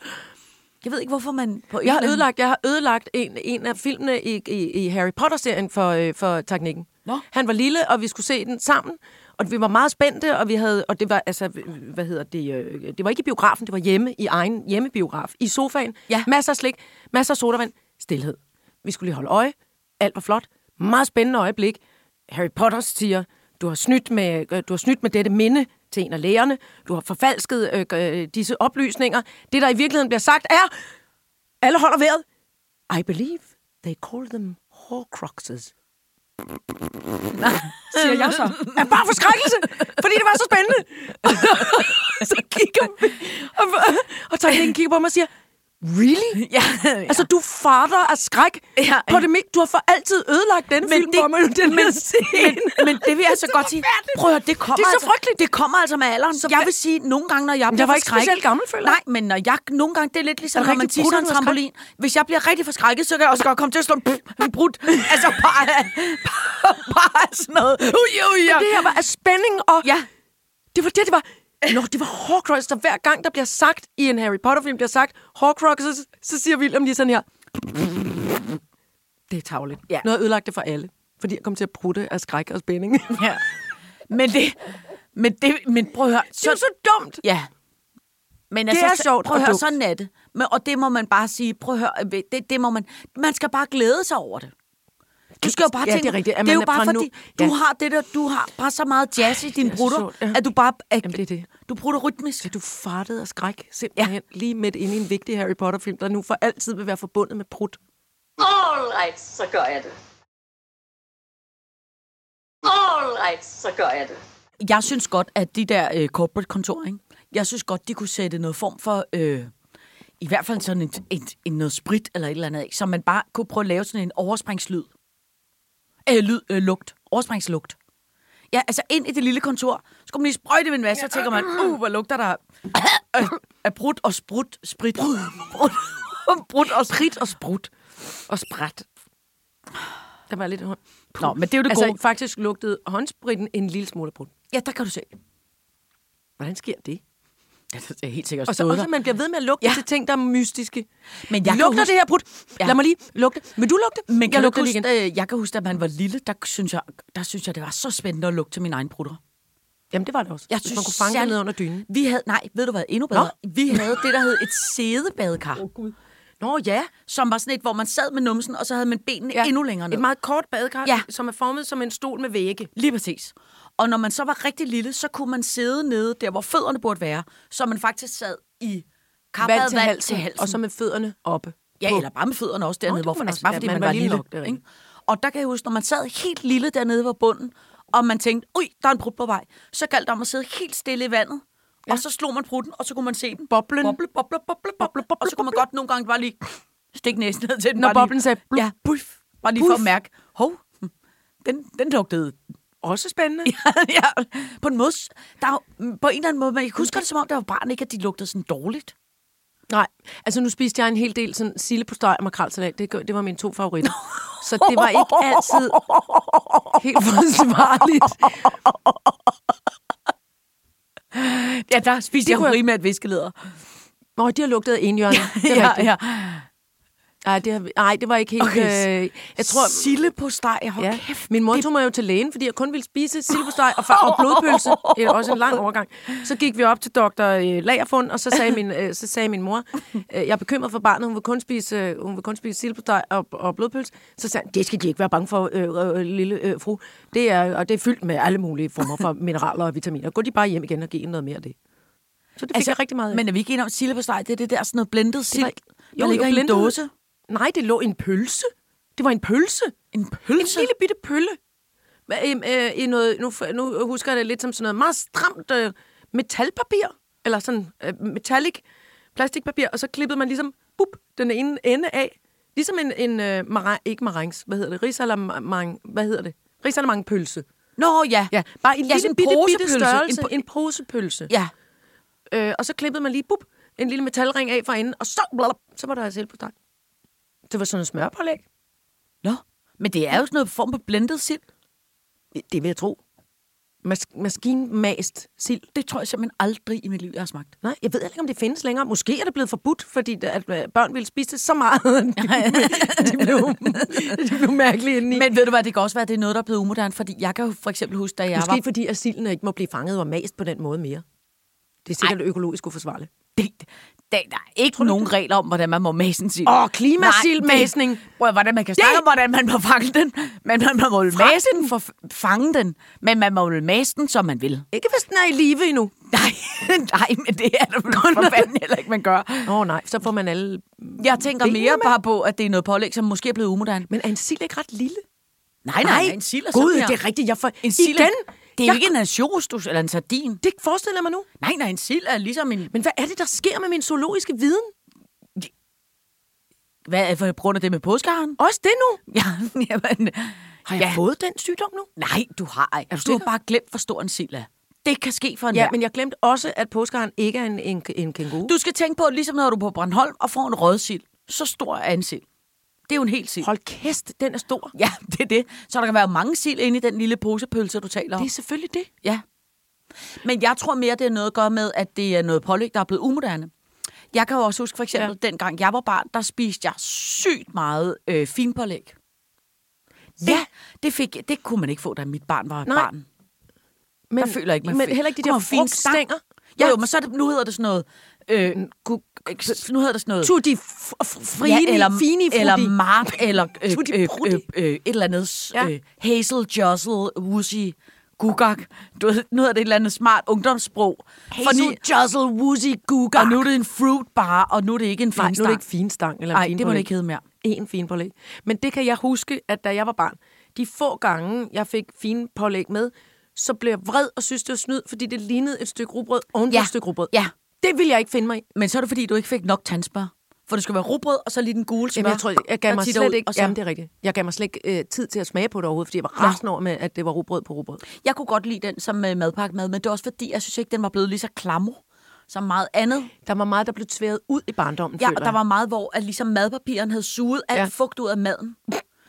Speaker 4: jeg ved ikke, hvorfor man... På en
Speaker 3: Jeg har
Speaker 4: eller anden-
Speaker 3: ødelagt, jeg har ødelagt en, en af filmene i, i, i Harry Potter-serien for, øh, for teknikken.
Speaker 4: Nå.
Speaker 3: Han var lille, og vi skulle se den sammen, og vi var meget spændte, og vi havde, og det var, altså, øh, hvad hedder det, øh, det var ikke i biografen, det var hjemme, i egen hjemmebiograf, i sofaen,
Speaker 4: Ja.
Speaker 3: masser af slik, masser af sodavand, stillhed. Vi skulle lige holde øje, alt var flot, meget spændende øjeblik. Harry Potter siger, du har snydt med, øh, du har snydt med dette minde til en af lægerne, du har forfalsket øh, øh, disse oplysninger. Det, der i virkeligheden bliver sagt, er, alle holder vejret. I believe they call them horcruxes. siger
Speaker 4: Øh,
Speaker 3: jeg så. Er bare forskrækkelse, fordi det var så spændende. så kigger vi, og, og teknikken kigger på mig og siger, really?
Speaker 4: Ja,
Speaker 3: Altså, du farter af skræk
Speaker 4: Ja.
Speaker 3: på det mik. Du har for altid ødelagt den film for mig, den her scene.
Speaker 4: men, men det vil jeg så godt sige. Prøv at høre, det kommer
Speaker 3: Det er så
Speaker 4: altså,
Speaker 3: frygteligt.
Speaker 4: Det kommer altså med alderen. Så jeg vil sige, nogle gange, når jeg bliver
Speaker 3: jeg var ikke
Speaker 4: forskrækket-
Speaker 3: specielt gammel, føler jeg.
Speaker 4: Nej, men når jeg nogle gange, det er lidt ligesom,
Speaker 3: Er det
Speaker 4: når man tisser
Speaker 3: rigtig brudt,
Speaker 4: en
Speaker 3: når du er
Speaker 4: trampolin. Hvis jeg bliver rigtig forskrækket, så kan jeg også godt komme til at slå en, en brudt. Altså bare, bare, bare sådan noget. Ui, ui, ja.
Speaker 3: Men det her var af spænding, og
Speaker 4: Ja,
Speaker 3: det var det, det var... Nå, det var Horcruxes, der hver gang, der bliver sagt i en Harry Potter-film, bliver sagt Horcruxes, så siger William lige sådan her. Det er tavligt.
Speaker 4: Ja.
Speaker 3: Nu har jeg ødelagt det for alle, fordi jeg kom til at prutte af skræk og spænding. det
Speaker 4: ja. Men det, men det, men prøv at høre.
Speaker 3: er jo så dumt.
Speaker 4: Ja. Men
Speaker 3: Det
Speaker 4: altså,
Speaker 3: er
Speaker 4: så-
Speaker 3: sjovt
Speaker 4: prøv at
Speaker 3: og
Speaker 4: høre,
Speaker 3: dumt.
Speaker 4: sådan er det. Men, og det må man bare sige, prøv at høre, øh, det, det må man, man skal bare glæde sig over det. Du skal jo bare
Speaker 3: Ja,
Speaker 4: tænke,
Speaker 3: det er rigtigt, at
Speaker 4: det er
Speaker 3: man
Speaker 4: jo
Speaker 3: er
Speaker 4: bare
Speaker 3: fra nu-
Speaker 4: fordi, du
Speaker 3: Ja.
Speaker 4: har det der, du har bare så meget jazz i din
Speaker 3: er så
Speaker 4: brutter,
Speaker 3: sjovt, ja.
Speaker 4: at du bare, at,
Speaker 3: Jamen, det er det.
Speaker 4: du bruger det rytmisk.
Speaker 3: Så du fartede af skræk simpelthen ja. lige midt inde i en vigtig Harry Potter-film, der nu for altid vil være forbundet med prut.
Speaker 2: All right, så gør jeg det. All right, så gør jeg det.
Speaker 4: Jeg synes godt, at de der øh, corporate kontor, ikke? jeg synes godt, de kunne sætte noget form for, øh, i hvert fald sådan en, en, en noget sprit eller et eller andet, ikke? så man bare kunne prøve at lave sådan en overspringslyd. Øh, lyd, øh, lugt. Overspringslugt. Ja, altså ind i det lille kontor, så kunne man lige sprøjte med en masse, og tænker man, uh, hvor lugter der af- af brudt og sprudt, sprit. Brudt, brudt og sprit og sprudt.
Speaker 3: Og spræt. Der var lidt hånd.
Speaker 4: Nå, men det er jo det
Speaker 3: Altså,
Speaker 4: altså, gode.
Speaker 3: faktisk lugtede håndspritten en lille smule af prut.
Speaker 4: Ja, der kan du se.
Speaker 3: Hvordan sker det?
Speaker 4: Ja, det er helt sikkert
Speaker 3: Og så
Speaker 4: stået
Speaker 3: også,
Speaker 4: der.
Speaker 3: at man bliver ved med at lugte
Speaker 4: Ja.
Speaker 3: ja. til ting, der er mystiske.
Speaker 4: Men jeg kan
Speaker 3: lugter
Speaker 4: huske-
Speaker 3: det her brudt?
Speaker 4: Ja.
Speaker 3: Ja. Lad mig lige lugte. Vil du lugte?
Speaker 4: Men kan jeg,
Speaker 3: lugter
Speaker 4: du
Speaker 3: lige
Speaker 4: ikke huske, øh, jeg kan huske, at man var lille, der synes, jeg, der synes jeg, det var så spændende at lugte til mine egne brutter.
Speaker 3: Jamen, det var det også.
Speaker 4: Jeg
Speaker 3: Jeg
Speaker 4: synes
Speaker 3: synes, man kunne fange
Speaker 4: særligt-
Speaker 3: det ned under dynen.
Speaker 4: Vi havde, nej, ved du hvad, endnu bedre. Nå? Vi havde det, der hed et sædebadekar,
Speaker 3: Nå ja.
Speaker 4: som var sådan et, hvor man sad med numsen, og så havde man benene ja.
Speaker 3: ja.
Speaker 4: endnu længere ned.
Speaker 3: Et meget kort badekar,
Speaker 4: Ja.
Speaker 3: ja. som er formet som en stol med vægge.
Speaker 4: Lige præcis. Og når man så var rigtig lille, så kunne man sidde nede der, hvor fødderne burde være, så man faktisk sad i karbadet vand til halsen. Til halsen.
Speaker 3: Og så med fødderne oppe.
Speaker 4: Ja,
Speaker 3: på.
Speaker 4: eller bare med fødderne også
Speaker 3: Nå,
Speaker 4: dernede,
Speaker 3: det
Speaker 4: hvor,
Speaker 3: kunne man
Speaker 4: altså
Speaker 3: også.
Speaker 4: bare
Speaker 3: Ja,
Speaker 4: fordi man,
Speaker 3: man
Speaker 4: var,
Speaker 3: var
Speaker 4: lille
Speaker 3: lille
Speaker 4: nok.
Speaker 3: nok, det er
Speaker 4: ikke? Og der kan jeg huske, når man sad helt lille dernede på bunden, og man tænkte, ui, der er en brud på vej, så galt det om at sidde helt stille i vandet, ja. og så slog man prutten, og så kunne man se den.
Speaker 3: Boblen.
Speaker 4: Boble, boble, boble, boble, boble, og så kunne man godt nogle gange bare lige stikke næsen ned til den.
Speaker 3: Når
Speaker 4: bare lige-
Speaker 3: boblen sagde blup,
Speaker 4: ja, puff, bare lige for at
Speaker 3: puff.
Speaker 4: mærke, hov, hm, den, den lugtede.
Speaker 3: Også spændende.
Speaker 4: ja, på en måde, s- der, er jo- på en eller anden måde, man husker det som om, der var barn ikke, at de lugtede sådan dårligt.
Speaker 3: Nej, altså nu spiste jeg en hel del sådan sille på steg og makrelsalat. Det, gør- det var mine to favoritter. Så det var ikke altid helt forsvarligt.
Speaker 4: Ja, der spiste
Speaker 3: Det
Speaker 4: jeg
Speaker 3: kunne jeg-
Speaker 4: primært viskeleder.
Speaker 3: Nå, de har lugtet af enhjørne. Det er
Speaker 4: ja,
Speaker 3: rigtigt.
Speaker 4: ja.
Speaker 3: Nej, det, har, nej, det var ikke helt...
Speaker 4: Okay,
Speaker 3: Okay. Øh, jeg tror,
Speaker 4: Sille på steg, hold
Speaker 3: ja. Min mor tog mig jo til lægen, fordi jeg kun ville spise silversteg og, fa- og blodpølse. Det er også en lang overgang. Så gik vi op til doktor øh, Lagerfund, og så sagde min, øh, så sagde min mor, øh, jeg er bekymret for barnet, hun vil kun spise, øh, hun vil kun spise silversteg og, og blodpølse. Så sagde han, det skal de ikke være bange for, øh, øh, lille øh, fru. Det er, og det er fyldt med alle mulige former for mineraler og vitaminer. Gå de bare hjem igen og giv hende noget mere af det. Så det fik altså, jeg rigtig meget af.
Speaker 4: Men er vi ikke enige om, at sille på steg, det er det der sådan noget blendet sild,
Speaker 3: var-
Speaker 4: der ligger i en
Speaker 3: blendet.
Speaker 4: dåse?
Speaker 3: Nej, det lå i en pølse. Det var en pølse.
Speaker 4: En
Speaker 3: En lille bitte pølle. Med, øhm, øh, I noget, nu, f- nu husker jeg det lidt som sådan noget meget stramt øh, metalpapir. Eller sådan øh, metallic plastikpapir. Og så klippede man ligesom bup, den ene ende af. Ligesom en, en øh, mara- ikke marengs, hvad hedder det? Risalamang, hvad hedder det? Risalamangpølse.
Speaker 4: Nå, ja.
Speaker 3: Ja, bare en
Speaker 4: Ja,
Speaker 3: ja,
Speaker 4: sådan
Speaker 3: lille
Speaker 4: en
Speaker 3: bitte, bitte
Speaker 4: posepølse.
Speaker 3: størrelse.
Speaker 4: En po-
Speaker 3: En, en posepølse.
Speaker 4: Ja.
Speaker 3: Øh, og så klippede man lige bup, en lille metalring af fra enden, og så, blablab, så var der altså på dig. Det var sådan noget smørpålæg.
Speaker 4: Nå. Men det er jo sådan noget form for blendet sild.
Speaker 3: Det vil jeg tro. Mas- maskinmast sild.
Speaker 4: Det tror jeg simpelthen aldrig i mit liv, jeg har smagt.
Speaker 3: Nej, jeg ved heller ikke, om det findes længere. Måske er det blevet forbudt, fordi der- at øh, børn ville spise det så meget, at de, de, blev, de blev mærkelige indeni.
Speaker 4: Men ved du hvad, det kan også være, at det er noget, der er blevet umoderne, fordi jeg kan jo for eksempel huske, da jeg
Speaker 3: Måske
Speaker 4: var...
Speaker 3: fordi, at silden ikke må blive fanget og mast på den måde mere. Det er sikkert Ej. økologisk uforsvarligt.
Speaker 4: Det, der, der er ikke nogen regler om, hvordan man må mase en sild.
Speaker 3: Åh, klimasildmasning.
Speaker 4: Nej, det- Prøv at- hvordan man kan snakke
Speaker 3: Det-
Speaker 4: om, hvordan man må fange den. Men man må vel mase den for fange den. Men man må vel mase den, som man vil.
Speaker 3: Ikke hvis den er i live endnu.
Speaker 4: Nej, nej, men det er der vel for fanden heller ikke, man gør.
Speaker 3: Åh oh, nej, så får man alle...
Speaker 4: Jeg tænker
Speaker 3: Ved
Speaker 4: mere
Speaker 3: man?
Speaker 4: bare på, at det er noget pålæg, som måske er blevet umoderne.
Speaker 3: Men er en sild ikke ret lille?
Speaker 4: Nej, nej, nej en sild er
Speaker 3: Gud,
Speaker 4: sådan her.
Speaker 3: det er rigtigt. Jeg får...
Speaker 4: En sild er-
Speaker 3: Igen?
Speaker 4: Det er
Speaker 3: jeg...
Speaker 4: jo ikke en ansjostus eller en sardin.
Speaker 3: Det forestiller jeg mig nu.
Speaker 4: Nej, nej, en sild er ligesom en...
Speaker 3: Men hvad er det, der sker med min zoologiske viden?
Speaker 4: Hvad er for grund af det med påskeharen?
Speaker 3: Også det nu?
Speaker 4: Ja, jamen...
Speaker 3: Har jeg ja. fået den sygdom nu?
Speaker 4: Nej, du har ej. du, har
Speaker 3: sikker?
Speaker 4: bare glemt, hvor stor en sild er. Det kan ske for en
Speaker 3: Ja, men jeg glemte også, at påskeren ikke er en, en, en kænguru.
Speaker 4: Du skal tænke på, ligesom når du er på Brandholm og får en rødsild. Så stor er en sild. Det er jo en hel sild.
Speaker 3: Hold kæft, den er stor.
Speaker 4: Ja, det er det. Så der kan være mange sild inde i den lille posepølse, du taler om.
Speaker 3: Det er selvfølgelig det.
Speaker 4: Ja. Men jeg tror mere, det er noget at gøre med, at det er noget pålæg, der er blevet umoderne. Jeg kan jo også huske, for eksempel, ja. dengang jeg var barn, der spiste jeg sygt meget øh, finpålæg.
Speaker 3: Ja.
Speaker 4: Det, det, fik, det kunne man ikke få, da mit barn var Nej.
Speaker 3: Nej.
Speaker 4: barn.
Speaker 3: Men,
Speaker 4: Jeg føler ikke, man
Speaker 3: Men
Speaker 4: fik.
Speaker 3: heller ikke de
Speaker 4: Kunne
Speaker 3: der
Speaker 4: man få en stang?
Speaker 3: frugtstænger.
Speaker 4: Ja, jo, men så er det, nu hedder det sådan noget... Øh, nu hedder det sådan noget...
Speaker 3: Tog de f- f- frie, ja, eller, fine
Speaker 4: eller mart, eller øh,
Speaker 3: Tutti
Speaker 4: øh,
Speaker 3: Frutti.
Speaker 4: øh, øh, et eller andet ja.
Speaker 3: Ja.
Speaker 4: øh, hazel, jostle, wussy, gugak. Du ved, nu hedder det et eller andet smart ungdomssprog. Fordi-
Speaker 3: Jostle, Woozy, Guga.
Speaker 4: og nu er det en fruit bar, og nu er det ikke en
Speaker 3: Nej, nu er det
Speaker 4: finstang.
Speaker 3: ikke finstang eller en
Speaker 4: Nej, det må det
Speaker 3: finpålæg.
Speaker 4: ikke hedde mere.
Speaker 3: En fin pålæg. Men det kan jeg huske, at da jeg var barn, de få gange, jeg fik fine pålæg med, så blev jeg vred og synes, det var snyd, fordi det lignede et stykke rugbrød oven på
Speaker 4: Ja.
Speaker 3: et stykke rugbrød.
Speaker 4: Ja.
Speaker 3: Det vil jeg ikke finde mig i.
Speaker 4: Men så er det, fordi du ikke fik nok tandspør. For det skulle være rugbrød, og så lige den gule smør.
Speaker 3: Jamen, jeg tror, jeg
Speaker 4: der
Speaker 3: gav mig
Speaker 4: titter ud,
Speaker 3: slet ikke...
Speaker 4: og så-
Speaker 3: Jamen, det er rigtigt. Jeg gav mig slet ikke øh, tid til at smage på det overhovedet, fordi jeg var
Speaker 4: Nå.
Speaker 3: rasende over med, at det var rugbrød på rugbrød.
Speaker 4: Jeg kunne godt lide den som øh, madpakke mad, men det er også fordi, jeg synes ikke, den var blevet lige så klammer som meget andet.
Speaker 3: Der var meget, der blev tværet ud i barndommen,
Speaker 4: Ja,
Speaker 3: føler
Speaker 4: og der
Speaker 3: jeg.
Speaker 4: var meget, hvor at ligesom madpapiren havde suget alt ja.
Speaker 3: Ja.
Speaker 4: fugt ud af maden.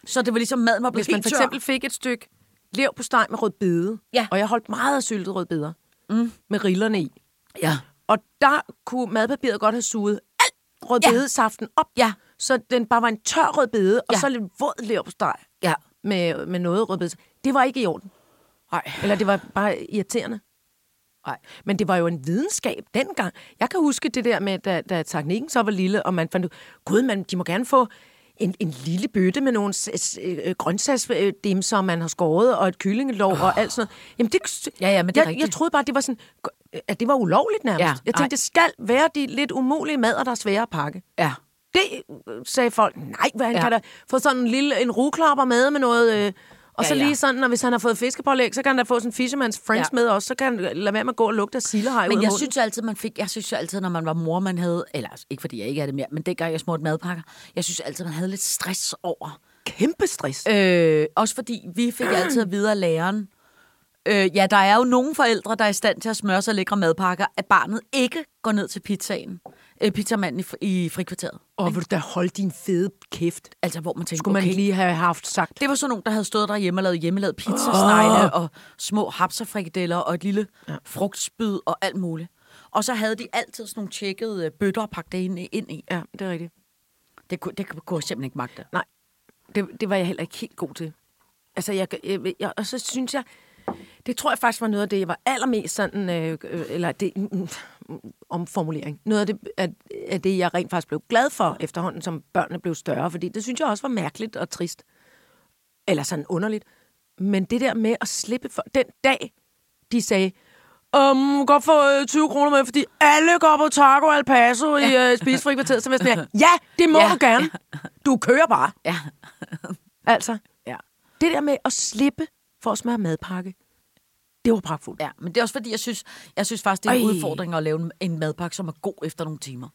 Speaker 4: Så det var ligesom, maden var blevet
Speaker 3: Hvis man
Speaker 4: helt
Speaker 3: for
Speaker 4: tør.
Speaker 3: eksempel fik et stykke lev på steg med rød bede,
Speaker 4: Ja.
Speaker 3: og jeg holdt meget af syltet rød beder, mm. med rillerne i,
Speaker 4: Ja.
Speaker 3: og der kunne madpapiret godt have suget alt rød
Speaker 4: Ja.
Speaker 3: bedesaften op,
Speaker 4: Ja.
Speaker 3: så den bare var en tør rød bede, og
Speaker 4: Ja.
Speaker 3: så lidt våd lev på steg
Speaker 4: Ja.
Speaker 3: med, med noget rødbede. Det var ikke i orden.
Speaker 4: Nej.
Speaker 3: Eller det var bare irriterende.
Speaker 4: Nej.
Speaker 3: Men det var jo en videnskab dengang. Jeg kan huske det der med, da, da teknikken så var lille, og man fandt ud, gud, man, de må gerne få en, en lille bøtte med nogle s- s- øh, grøntsagsdimser, man har skåret, og et kyllingelov oh. og alt sådan noget. Jamen, det,
Speaker 4: Ja, ja, men det er
Speaker 3: jeg,
Speaker 4: rigtigt.
Speaker 3: jeg troede bare, det var sådan, at det var ulovligt nærmest.
Speaker 4: Ja,
Speaker 3: Ja, jeg tænkte,
Speaker 4: nej.
Speaker 3: det skal være de lidt umulige mader, der er svære at pakke.
Speaker 4: Ja.
Speaker 3: Det øh, sagde folk, nej, hvad han
Speaker 4: Ja.
Speaker 3: ja. kan da få sådan en lille en rugklapper med med noget... Øh, og
Speaker 4: Ja,
Speaker 3: ja, så
Speaker 4: ja.
Speaker 3: lige sådan, og hvis han har fået fiskepålæg, så kan han da få sådan en fisherman's friends
Speaker 4: Ja.
Speaker 3: ja. med også. Så kan han lade være med at gå og lugte af sillehej ud
Speaker 4: Men
Speaker 3: af
Speaker 4: jeg
Speaker 3: munden.
Speaker 4: synes jo altid, man fik, jeg synes jo altid, når man var mor, man havde, eller altså, ikke fordi jeg ikke er det mere, men dengang jeg smurte madpakker, jeg synes altid, man havde lidt stress over.
Speaker 3: kæmpe stress.
Speaker 4: Øh, også fordi vi fik altid at vide af læreren, øh, ja, der er jo nogle forældre, der er i stand til at smøre så lækre madpakker, at barnet ikke går ned til pizzaen. øh, pizzamanden i, fri- i frikvarteret.
Speaker 5: Og vil du da holde din fede kæft?
Speaker 4: Altså, hvor man tænker,
Speaker 5: Skulle man
Speaker 4: okay,
Speaker 5: okay. lige have haft sagt.
Speaker 4: Det var sådan nogen, der havde stået derhjemme og lavet hjemmelavet pizzasnegle oh. og små hapserfrikadeller og et lille ja. frugtspyd og alt muligt. Og så havde de altid sådan nogle tjekkede øh, bøtter og pakket det ind, ind i.
Speaker 3: Ja, det er rigtigt.
Speaker 4: Det, kunne, det kunne jeg simpelthen ikke magte.
Speaker 3: Nej, det, det var jeg heller ikke helt god til. Altså, jeg, jeg, jeg, og så synes jeg, det tror jeg faktisk var noget af det, jeg var allermest sådan, øh, øh, eller det, mm, mm, omformulering. Noget af det, af, af det, jeg rent faktisk blev glad for efterhånden, som børnene blev større, fordi det synes jeg også var mærkeligt og trist. Eller sådan underligt. Men det der med at slippe for, den dag, de sagde, Um, godt få øh, 20 kroner med, fordi alle går på taco al paso i øh, spisefri kvarteret. Så var jeg sådan her, ja, det må
Speaker 4: Ja,
Speaker 3: ja, du gerne. Du kører bare.
Speaker 4: Ja.
Speaker 3: Altså,
Speaker 4: Ja.
Speaker 3: det der med at slippe for at smøre madpakke, det var pragtfuldt.
Speaker 4: ja. Men det er også fordi, jeg synes, jeg synes faktisk, det er en
Speaker 3: Ej.
Speaker 4: udfordring at lave en, en madpakke, som er god efter nogle timer.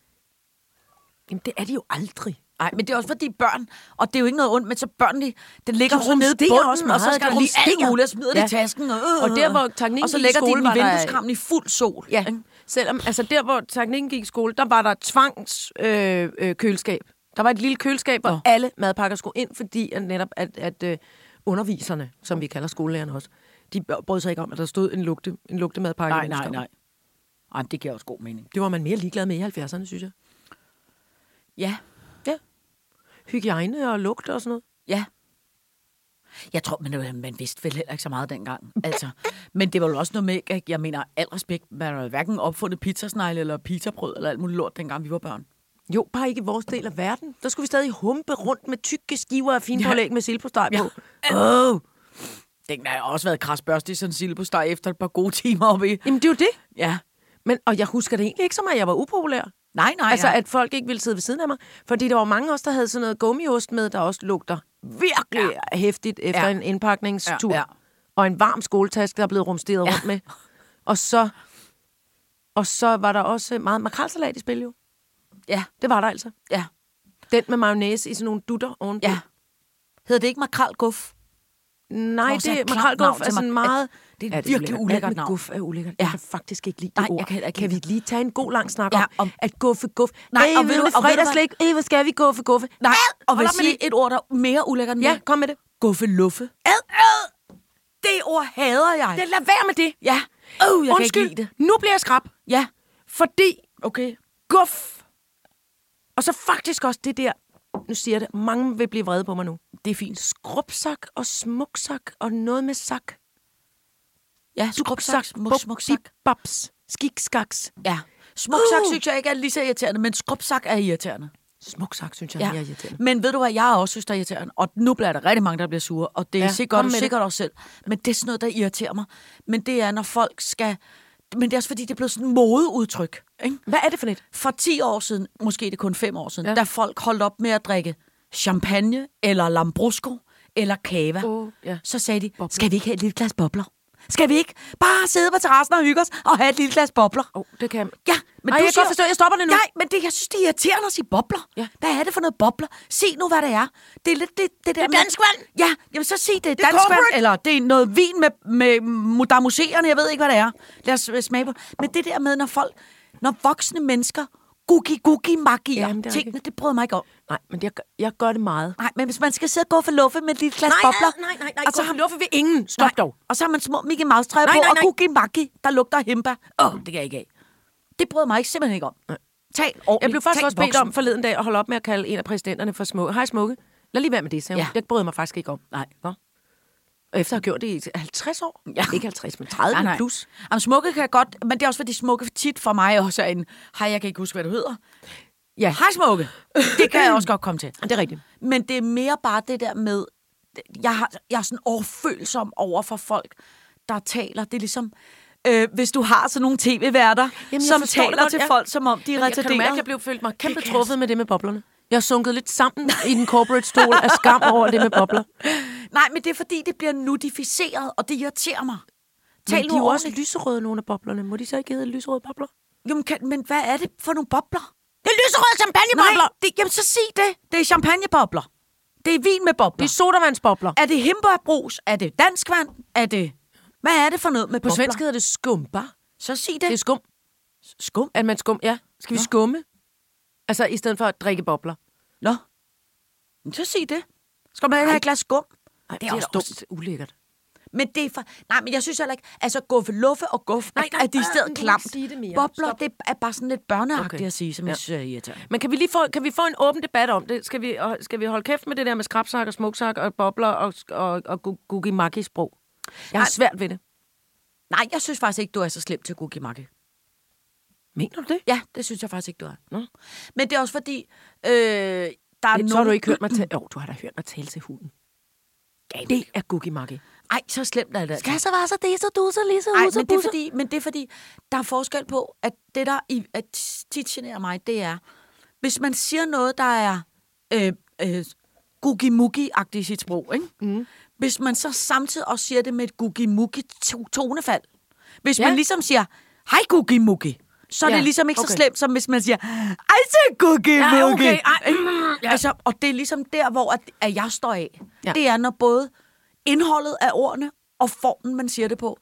Speaker 3: Jamen, det er de jo aldrig.
Speaker 4: Nej, men det er også fordi børn, og det er jo ikke noget ondt, men så børn, de, det ligger
Speaker 3: De
Speaker 4: så nede i
Speaker 3: rumsterer
Speaker 4: bunden,
Speaker 3: også
Speaker 4: og så
Speaker 3: meget.
Speaker 4: skal
Speaker 3: De
Speaker 4: der lige alt
Speaker 3: rumsterer.
Speaker 4: muligt, og smider ja. det
Speaker 3: Ja.
Speaker 4: i tasken. Og,
Speaker 3: Og der, hvor teknikken
Speaker 4: og så
Speaker 3: gik i
Speaker 4: lægger de
Speaker 3: skole,
Speaker 4: den
Speaker 3: var
Speaker 4: i
Speaker 3: der-
Speaker 4: vindueskarmen i fuld sol.
Speaker 3: Ja,
Speaker 4: ikke?
Speaker 3: selvom, altså der, hvor teknikken gik i skole, der var der tvangskøleskab. Øh, øh, køleskab. der var et lille køleskab, hvor
Speaker 4: Nå.
Speaker 3: alle madpakker skulle ind, fordi at netop at, at øh, underviserne, som vi kalder skolelærerne også, de brød sig ikke om, at der stod en, lugte, en lugtemadpakke. i
Speaker 4: Nej, nej,
Speaker 3: vindueskarmen.
Speaker 4: nej. Ej, men det giver også god mening.
Speaker 3: Det var man mere ligeglad med i 70'erne, synes jeg.
Speaker 4: Ja,
Speaker 3: Hygiejne og lugt og sådan noget.
Speaker 4: ja. Jeg tror, man, man vidste vel heller ikke så meget dengang. Altså. Men det var jo også noget med, at jeg mener, al respekt, man har hverken opfundet pizzasnegle eller pizzabrød eller alt muligt lort, dengang vi var børn.
Speaker 3: Jo, bare ikke i vores del af verden. Der skulle vi stadig humpe rundt med tykke skiver af finpålæg ja. med silpostej på. Ja. Oh.
Speaker 4: Dengang har jeg også været krasbørste i sådan en sildepostej efter et par gode timer oppe i.
Speaker 3: Jamen, det er jo det.
Speaker 4: Ja.
Speaker 3: Men, og jeg husker det egentlig ikke som, at jeg var upopulær.
Speaker 4: Nej, nej,
Speaker 3: altså,
Speaker 4: nej.
Speaker 3: at folk ikke ville sidde ved siden af mig. Fordi der var mange af os, der havde sådan noget gummiost med, der også lugter virkelig ja. hæftigt efter
Speaker 4: Ja.
Speaker 3: ja. en indpakningstur.
Speaker 4: Ja, ja.
Speaker 3: Ja. Ja. Og en varm skoletaske, der er blevet rumsteret ja. rundt med. Og så, og så var der også meget makrelsalat i spil, jo.
Speaker 4: Ja,
Speaker 3: Det var der altså.
Speaker 4: ja,
Speaker 3: Den med mayonnaise i sådan nogle dutter ovenpå.
Speaker 4: ja. Hedder det ikke makralguff?
Speaker 3: Nej,
Speaker 4: Nå, så er
Speaker 3: det er
Speaker 4: et klart
Speaker 3: makrelguff
Speaker 4: navn
Speaker 3: er
Speaker 4: til
Speaker 3: sådan
Speaker 4: mak-
Speaker 3: meget...
Speaker 4: det er et virkelig
Speaker 3: ulækkert.
Speaker 4: ulækkert
Speaker 3: Alt med
Speaker 4: navn.
Speaker 3: Guff er ulækkert.
Speaker 4: Ja.
Speaker 3: Jeg kan faktisk ikke lide det
Speaker 4: Nej,
Speaker 3: ord.
Speaker 4: jeg kan heller ikke
Speaker 3: kan vi
Speaker 4: lide
Speaker 3: lige tage en god lang snak
Speaker 4: Ja,
Speaker 3: om,
Speaker 4: om-
Speaker 3: at guffe, guffe?
Speaker 4: Nej,
Speaker 3: Ej,
Speaker 4: og ved du- og ved du hvad?
Speaker 3: fredagslæg, Ej, hvor skal vi guffe, guffe?
Speaker 4: Nej, og vil
Speaker 3: op med
Speaker 4: sige et ord, der er mere ulækkert end
Speaker 3: Ja,
Speaker 4: det.
Speaker 3: kom med det.
Speaker 4: Guffeluffe. Ad, ad! Det ord hader jeg.
Speaker 3: Det, lad være med det.
Speaker 4: Ja. Oh, jeg
Speaker 3: Undskyld,
Speaker 4: kan ikke lide det.
Speaker 3: nu bliver jeg skrab,
Speaker 4: Ja,
Speaker 3: fordi
Speaker 4: okay.
Speaker 3: guf... Og så faktisk også det der, nu siger jeg det, mange vil blive vrede på mig nu.
Speaker 4: Det er fint.
Speaker 3: Skrubsak og smuksak og noget med sak.
Speaker 4: Ja, skrubsak, smuk, smuk sak.
Speaker 3: Babs, skikskaks.
Speaker 4: Ja. Smuksak
Speaker 3: Uh!
Speaker 4: synes jeg ikke er lige så irriterende, men skrubsak er irriterende.
Speaker 3: Smuksak, synes jeg,
Speaker 4: Ja.
Speaker 3: er mere irriterende.
Speaker 4: Men ved du hvad, jeg også synes, der er irriterende, og nu bliver der rigtig mange, der bliver sure, og det er ja,
Speaker 3: Ja,
Speaker 4: sikkert,
Speaker 3: kom med det.
Speaker 4: sikkert også selv. Men det er sådan noget, der irriterer mig. Men det er, når folk skal... Men det er også fordi, det er blevet sådan et modeudtryk. Ikke?
Speaker 3: Hvad er det for net?
Speaker 4: For 10 år siden, måske det er kun 5 år siden, ja.
Speaker 3: Ja.
Speaker 4: der folk holdt op med at drikke champagne, eller lambrusco, eller kava.
Speaker 3: Åh, ja.
Speaker 4: Så sagde de, bobler. skal vi ikke have et lille glas bobler? Skal vi ikke bare sidde på terrassen og hygge os og have et lille glas bobler?
Speaker 3: Åh, oh, det kan jeg.
Speaker 4: Ja, men
Speaker 3: Ej,
Speaker 4: du
Speaker 3: jeg kan
Speaker 4: siger...
Speaker 3: godt forstå, jeg stopper det nu.
Speaker 4: Nej, men det, jeg synes, det er irriterende at sige bobler.
Speaker 3: Ja.
Speaker 4: Hvad er det for noget bobler? Se nu, hvad det er. Det er lidt det, det der
Speaker 3: er dansk vand.
Speaker 4: Ja, jamen så sig det er
Speaker 3: Det er
Speaker 4: dansk vand,
Speaker 3: corporate.
Speaker 4: eller det er noget vin med, med mudamuserende, jeg ved ikke, hvad det er. Lad os øh, smage på. Men det der med, når folk, når voksne mennesker gugi gugi magier
Speaker 3: Jamen, det er
Speaker 4: tingene,
Speaker 3: rigtigt.
Speaker 4: det bryder mig ikke om.
Speaker 3: Nej, men jeg, gør- jeg gør det meget.
Speaker 4: Nej, men hvis man skal sidde og gå for luffe med et lille glas bobler. Altså,
Speaker 3: nej.
Speaker 4: Og så har
Speaker 3: luffe ved ingen. Stop
Speaker 4: Nej.
Speaker 3: nej. dog.
Speaker 4: Og så har man små Mickey Mouse træer
Speaker 3: Nej,
Speaker 4: på,
Speaker 3: nej,
Speaker 4: og
Speaker 3: nej.
Speaker 4: Cookie Maki, der lugter af himba. Åh, oh, det kan jeg ikke af. Det bryder mig ikke, simpelthen ikke om. Tal ordentligt.
Speaker 3: Jeg blev faktisk
Speaker 4: Tal
Speaker 3: også bedt
Speaker 4: voksen.
Speaker 3: om forleden dag at holde op med at kalde en af præsidenterne for smukke. Hej smukke. Lad lige være med det, sagde hun.
Speaker 4: Ja.
Speaker 3: Ja. Det brød mig faktisk ikke om.
Speaker 4: Nej.
Speaker 3: Nå. Og Efter at have gjort det i 50 år.
Speaker 4: Ja.
Speaker 3: Ikke 50, men 30
Speaker 4: Nej, nej.
Speaker 3: plus.
Speaker 4: Plus. Jamen, smukke kan jeg godt, men det er også fordi smukke tit for mig også er en, hej, jeg kan ikke huske, hvad du hedder.
Speaker 3: Ja.
Speaker 4: Hej smukke. Det kan jeg også godt komme til.
Speaker 3: Det er rigtigt.
Speaker 4: Men det er mere bare det der med, jeg, har, jeg er sådan overfølsom over for folk, der taler. Det er ligesom, øh, hvis du har sådan nogle tv-værter,
Speaker 3: jeg
Speaker 4: som
Speaker 3: forstår det
Speaker 4: taler
Speaker 3: godt,
Speaker 4: til
Speaker 3: ja.
Speaker 4: folk, som om de er
Speaker 3: Jeg kan du mærke, at
Speaker 4: retarderede.
Speaker 3: jeg blev følt mig kæmpe
Speaker 4: Det kan
Speaker 3: truffet med det med boblerne. Jeg er sunket lidt sammen i den corporate stol af skam over det med bobler.
Speaker 4: Nej, men det er fordi, det bliver nudificeret, og det irriterer mig. Tal
Speaker 3: Men de
Speaker 4: nu
Speaker 3: er jo også
Speaker 4: ordentligt.
Speaker 3: lyserøde, nogle af boblerne. Må de så ikke hedde lyserøde bobler?
Speaker 4: Jamen, kan, men hvad er det for nogle bobler? Det er lyserøde champagnebobler! Nej, det, jamen så sig det. Det er champagnebobler. Det er vin med bobler.
Speaker 3: Det er sodavandsbobler.
Speaker 4: Er det himbeerbrus? Er det dansk vand? Er det... Hvad er det for noget med
Speaker 3: På
Speaker 4: bobler?
Speaker 3: svensk hedder det skumbar.
Speaker 4: Så sig det.
Speaker 3: Det er skum.
Speaker 4: skum.
Speaker 3: At man skum, ja. Skal vi skumme? Altså, i stedet for at drikke bobler.
Speaker 4: Nå. Men så sig det. Skal man have et glas skum?
Speaker 3: Ej,
Speaker 4: det er også dumt.
Speaker 3: ulækkert.
Speaker 4: Men det er for... Nej, men jeg synes heller ikke... Altså, guffe luffe og guffe
Speaker 3: Nej, nej,
Speaker 4: er de i
Speaker 3: øh,
Speaker 4: stedet
Speaker 3: nu må du
Speaker 4: klamt.
Speaker 3: ikke sige det mere.
Speaker 4: Bobler,
Speaker 3: Stop.
Speaker 4: det er bare sådan lidt børneagtigt
Speaker 3: Okay.
Speaker 4: okay. at sige, som ja. jeg synes er irriterende.
Speaker 3: Men kan vi lige få, kan vi få en åben debat om det? Skal vi, og- skal vi holde kæft med det der med skrabsak og smuksak og bobler og, og, og gu- gugimaki-sprog? Jeg har
Speaker 4: Nej.
Speaker 3: svært ved det.
Speaker 4: Nej, jeg synes faktisk ikke, du er så slem til Gugimakke.
Speaker 3: Mener du det?
Speaker 4: Ja, det synes jeg faktisk ikke, du er.
Speaker 3: Nå.
Speaker 4: Men det er også fordi... Øh, der er
Speaker 3: Men,
Speaker 4: nogen...
Speaker 3: så har du ikke hørt mig tale... Jo, du har da hørt mig tale til hunden. Det er gugimaki.
Speaker 4: Ej, så slemt er det. altså.
Speaker 3: så være så det, så du så lige så
Speaker 4: Ej, men det, er fordi, men det er fordi, der er forskel på, at det, der i, at tit generer mig, det er, hvis man siger noget, der er øh, øh, gugimugi-agtigt i sit sprog, ikke? Mm. hvis man så samtidig også siger det med et gugimugi-tonefald, hvis
Speaker 3: Ja.
Speaker 4: ja. man ligesom siger, hej gugimugi, så er
Speaker 3: Ja,
Speaker 4: det ligesom ikke okay.
Speaker 3: okay.
Speaker 4: så slemt, som hvis man siger, altså gugimugi.
Speaker 3: Ja, okay, ej,
Speaker 4: Ikke? Altså, og det er ligesom der, hvor at, at jeg står af.
Speaker 3: Ja.
Speaker 4: Ja. Det er, når både indholdet af ordene og formen, man siger det på,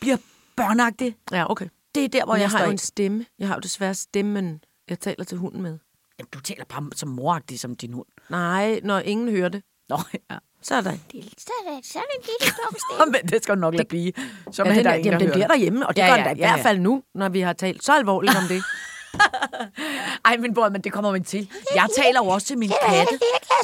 Speaker 4: bliver børnagtigt.
Speaker 3: Ja, okay.
Speaker 4: Det er der, hvor
Speaker 3: Og
Speaker 4: jeg,
Speaker 3: jeg
Speaker 4: står
Speaker 3: har jo
Speaker 4: af.
Speaker 3: en stemme. Jeg har jo desværre stemmen, jeg taler til hunden med.
Speaker 4: Jamen, du taler bare som moragtig som din hund.
Speaker 3: Nej, når ingen hører det.
Speaker 4: Nå, ja.
Speaker 3: Så er der... Det
Speaker 4: Men det skal du nok lade blive. Så
Speaker 3: ja,
Speaker 4: er
Speaker 3: den,
Speaker 4: der
Speaker 3: er,
Speaker 4: ingen,
Speaker 3: jamen, den
Speaker 4: hører
Speaker 3: bliver
Speaker 4: det.
Speaker 3: derhjemme, og det ja,
Speaker 4: Ja,
Speaker 3: gør
Speaker 4: ja,
Speaker 3: den da
Speaker 4: ja,
Speaker 3: i hvert
Speaker 4: ja. Ah.
Speaker 3: fald nu, når vi har talt så alvorligt om det.
Speaker 4: Ej, men hvor, men det kommer man til. Jeg taler jo også til min katte,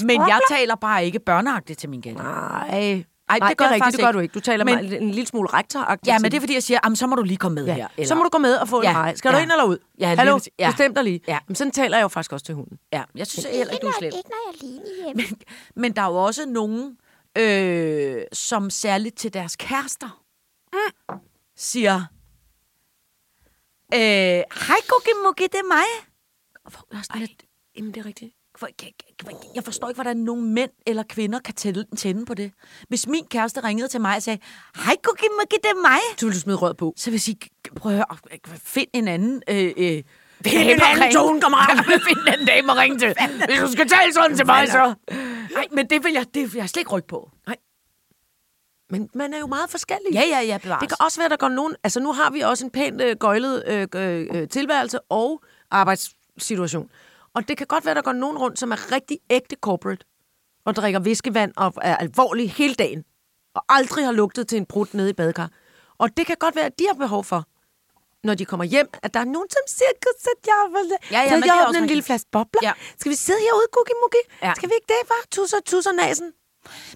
Speaker 4: men jeg taler bare ikke børneagtigt til min katte.
Speaker 3: Nej.
Speaker 4: Ej,
Speaker 3: Ej,
Speaker 4: det
Speaker 3: det,
Speaker 4: gør
Speaker 3: gør
Speaker 4: jeg
Speaker 3: rigtigt,
Speaker 4: faktisk
Speaker 3: det gør
Speaker 4: ikke.
Speaker 3: du ikke. Du taler
Speaker 4: Men-
Speaker 3: men, en lille smule rektor
Speaker 4: Ja, men det er, fordi jeg siger, jamen, så må du lige komme med
Speaker 3: Ja.
Speaker 4: her.
Speaker 3: Så må du gå med og få
Speaker 4: Ja.
Speaker 3: ja. en rej. Skal ja. du
Speaker 4: Ja.
Speaker 3: ind eller ud?
Speaker 4: Ja, lige
Speaker 3: Hallo?
Speaker 4: præcis. Ja.
Speaker 3: Bestem dig lige.
Speaker 4: Ja.
Speaker 3: Men sådan taler jeg jo faktisk også til hunden.
Speaker 4: Ja, jeg synes heller ikke, du er slem.
Speaker 6: Ikke når jeg er alene hjemme.
Speaker 4: Men der er jo også nogen, øh, som særligt til deres kærester
Speaker 6: Mm.
Speaker 4: siger, øh, hej Gugimugi, det er mig. Og hvor- jeg er sådan lidt-
Speaker 3: Jamen, det er rigtigt.
Speaker 4: hvor- jeg- jeg- jeg- Jeg forstår ikke, hvordan nogen mænd eller kvinder kan tænde, tænde på det. Hvis min kæreste ringede til mig og sagde, hej Gugimugi, det er mig.
Speaker 3: Så vil du smide rød på.
Speaker 4: Så vil jeg sige, prøv at høre, find en anden... Øh, øh,
Speaker 3: Find en anden tonekammerat.
Speaker 4: Find en anden dame at ringe til. Hvis du skal tale sådan til mig, så... Nej, men det vil jeg, det vil jeg slet ikke rykke på.
Speaker 3: Men man er jo meget forskellig.
Speaker 4: Ja, ja, ja, bevares.
Speaker 3: Det kan også være, der går nogen... Altså, nu har vi også en pænt øh, gøjlet øh, øh, øh, tilværelse og arbejdssituation. Og det kan godt være, der går nogen rundt, som er rigtig ægte corporate, og drikker viskevand og er alvorlig hele dagen, og aldrig har lugtet til en brud nede i badekar. Og det kan godt være, at de har behov for, når de kommer hjem, at der er nogen, som siger, "Gud, så jeg vil,
Speaker 4: Ja, ja,
Speaker 3: så
Speaker 4: men det
Speaker 3: jeg
Speaker 4: er
Speaker 3: åbner
Speaker 4: også
Speaker 3: en lille
Speaker 4: rigtigt.
Speaker 3: flaske bobler.
Speaker 4: Ja.
Speaker 3: Skal vi sidde herude, Gugimugi?
Speaker 4: Ja.
Speaker 3: Skal vi ikke det, bare? Tusser, tusser nasen.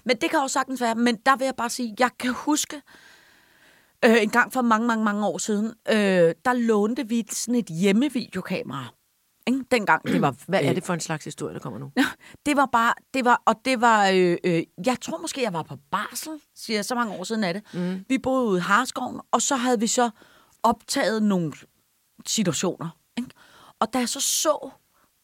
Speaker 4: Men det kan også sagtens være. Men der vil jeg bare sige, jeg kan huske, øh, en gang for mange, mange, mange år siden, øh, der lånte vi sådan et hjemmevideokamera. Ikke? Dengang, det var...
Speaker 3: Hvad er det for en slags historie, der kommer nu?
Speaker 4: Det var bare, det var, og det var, øh, øh, jeg tror måske, jeg var på barsel, siger jeg, så mange år siden af det. Mm. Vi boede ude i Harskoven, og så havde vi så optaget nogle situationer. Ikke? Og da jeg så så,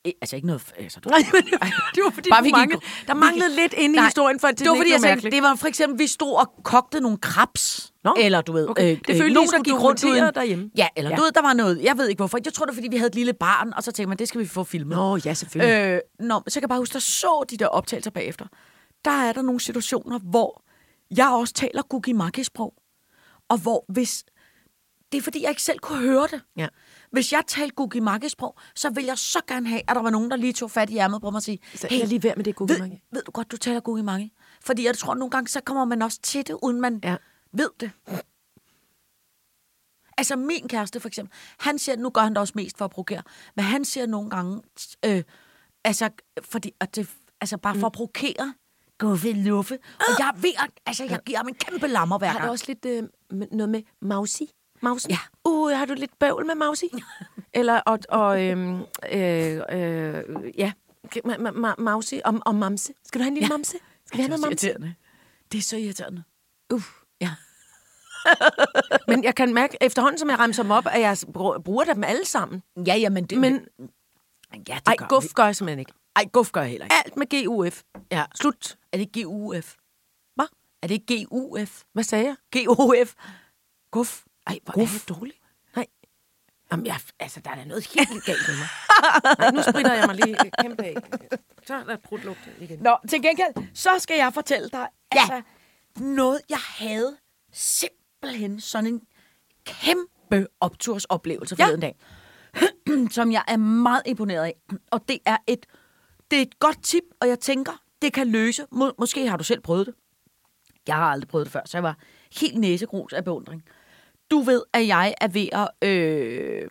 Speaker 4: eh, altså ikke noget, altså, du
Speaker 3: Nej, men det, det var fordi,
Speaker 4: Bare
Speaker 3: Bare,
Speaker 4: vi
Speaker 3: vi
Speaker 4: gik-
Speaker 3: manglede, der manglede lidt inde i historien, for at
Speaker 4: det var fordi, jeg tænkte,
Speaker 3: det
Speaker 4: det var for eksempel, vi stod og kogte nogle krebs.
Speaker 3: Nå,
Speaker 4: eller du ved, øh,
Speaker 3: okay. Det følte I
Speaker 4: nogen,
Speaker 3: skulle dokumentere derhjemme.
Speaker 4: Ja, eller
Speaker 3: Ja.
Speaker 4: ja. du ved, der var noget, jeg ved ikke hvorfor. Jeg tror, det var, fordi vi havde et lille barn, og så tænkte man, det skal vi få filmet.
Speaker 3: Nå, ja, selvfølgelig.
Speaker 4: Øh, nå, så kan jeg bare huske, der så de der optagelser bagefter. Der er der nogle situationer, hvor jeg også taler gugimaki-sprog. Og hvor hvis... Det er fordi, jeg ikke selv kunne høre det.
Speaker 3: Ja.
Speaker 4: Hvis jeg talte gugimaki-sprog, så vil jeg så gerne have, at der var nogen, der lige tog fat i ærmet på mig og sige,
Speaker 3: Så hey, jeg er lige ved med det gode
Speaker 4: ved, ved du godt, du taler gugimaki? Fordi jeg tror, nogle gange, så kommer man også til det, uden man
Speaker 3: Ja.
Speaker 4: ja. ved det. Altså min kæreste for eksempel, han siger, nu gør han det også mest for at provokere, men han siger nogle gange, t- øh, altså, fordi, at det, altså bare
Speaker 3: Mm.
Speaker 4: for at provokere, guffe luffe, og jeg ved, at, altså jeg giver ham en kæmpe lammer hver
Speaker 3: Har du
Speaker 4: gang.
Speaker 3: også lidt øh, m- noget med Mausi? Mausen?
Speaker 4: Ja.
Speaker 3: Uh, har du lidt bøvl med Mausi? Eller, og, og øhm, øh, øh, ja, Ma- ma- ma- Mausi og, og Mamse. Skal du have en lille
Speaker 4: Ja.
Speaker 3: Mamse? Skal vi have
Speaker 4: det er
Speaker 3: noget
Speaker 4: også
Speaker 3: Mamse?
Speaker 4: irriterende. Det er så irriterende.
Speaker 3: Uh.
Speaker 4: Ja.
Speaker 3: Men jeg kan mærke, efterhånden som jeg ramser dem op, at jeg br- bruger dem alle sammen.
Speaker 4: Ja, ja, men det...
Speaker 3: Men
Speaker 4: ja, det
Speaker 3: ej,
Speaker 4: gør
Speaker 3: guf
Speaker 4: vi.
Speaker 3: gør jeg simpelthen ikke.
Speaker 4: Ej, guf gør jeg heller ikke.
Speaker 3: Alt med GUF.
Speaker 4: Ja.
Speaker 3: Slut.
Speaker 4: Er det GUF?
Speaker 3: Hvad?
Speaker 4: Er det GUF?
Speaker 3: Hvad sagde jeg?
Speaker 4: GOF. Guf.
Speaker 3: Ej, hvor
Speaker 4: Guf.
Speaker 3: er det dårligt. Nej. Jamen, jeg, altså, der er da noget helt galt med mig. Nej, nu spritter jeg mig lige kæmpe af. Så er der brudlugt igen.
Speaker 4: Nå, til gengæld, så skal jeg fortælle dig, ja. altså, noget jeg havde simpelthen sådan en kæmpe optursoplevelse
Speaker 3: Ja.
Speaker 4: forleden dag. som jeg er meget imponeret af. Og det er et, det er et godt tip, og jeg tænker, det kan løse. Må, måske har du selv prøvet det. Jeg har aldrig prøvet det før, så jeg var helt næsegrus af beundring. Du ved, at jeg er ved at øh,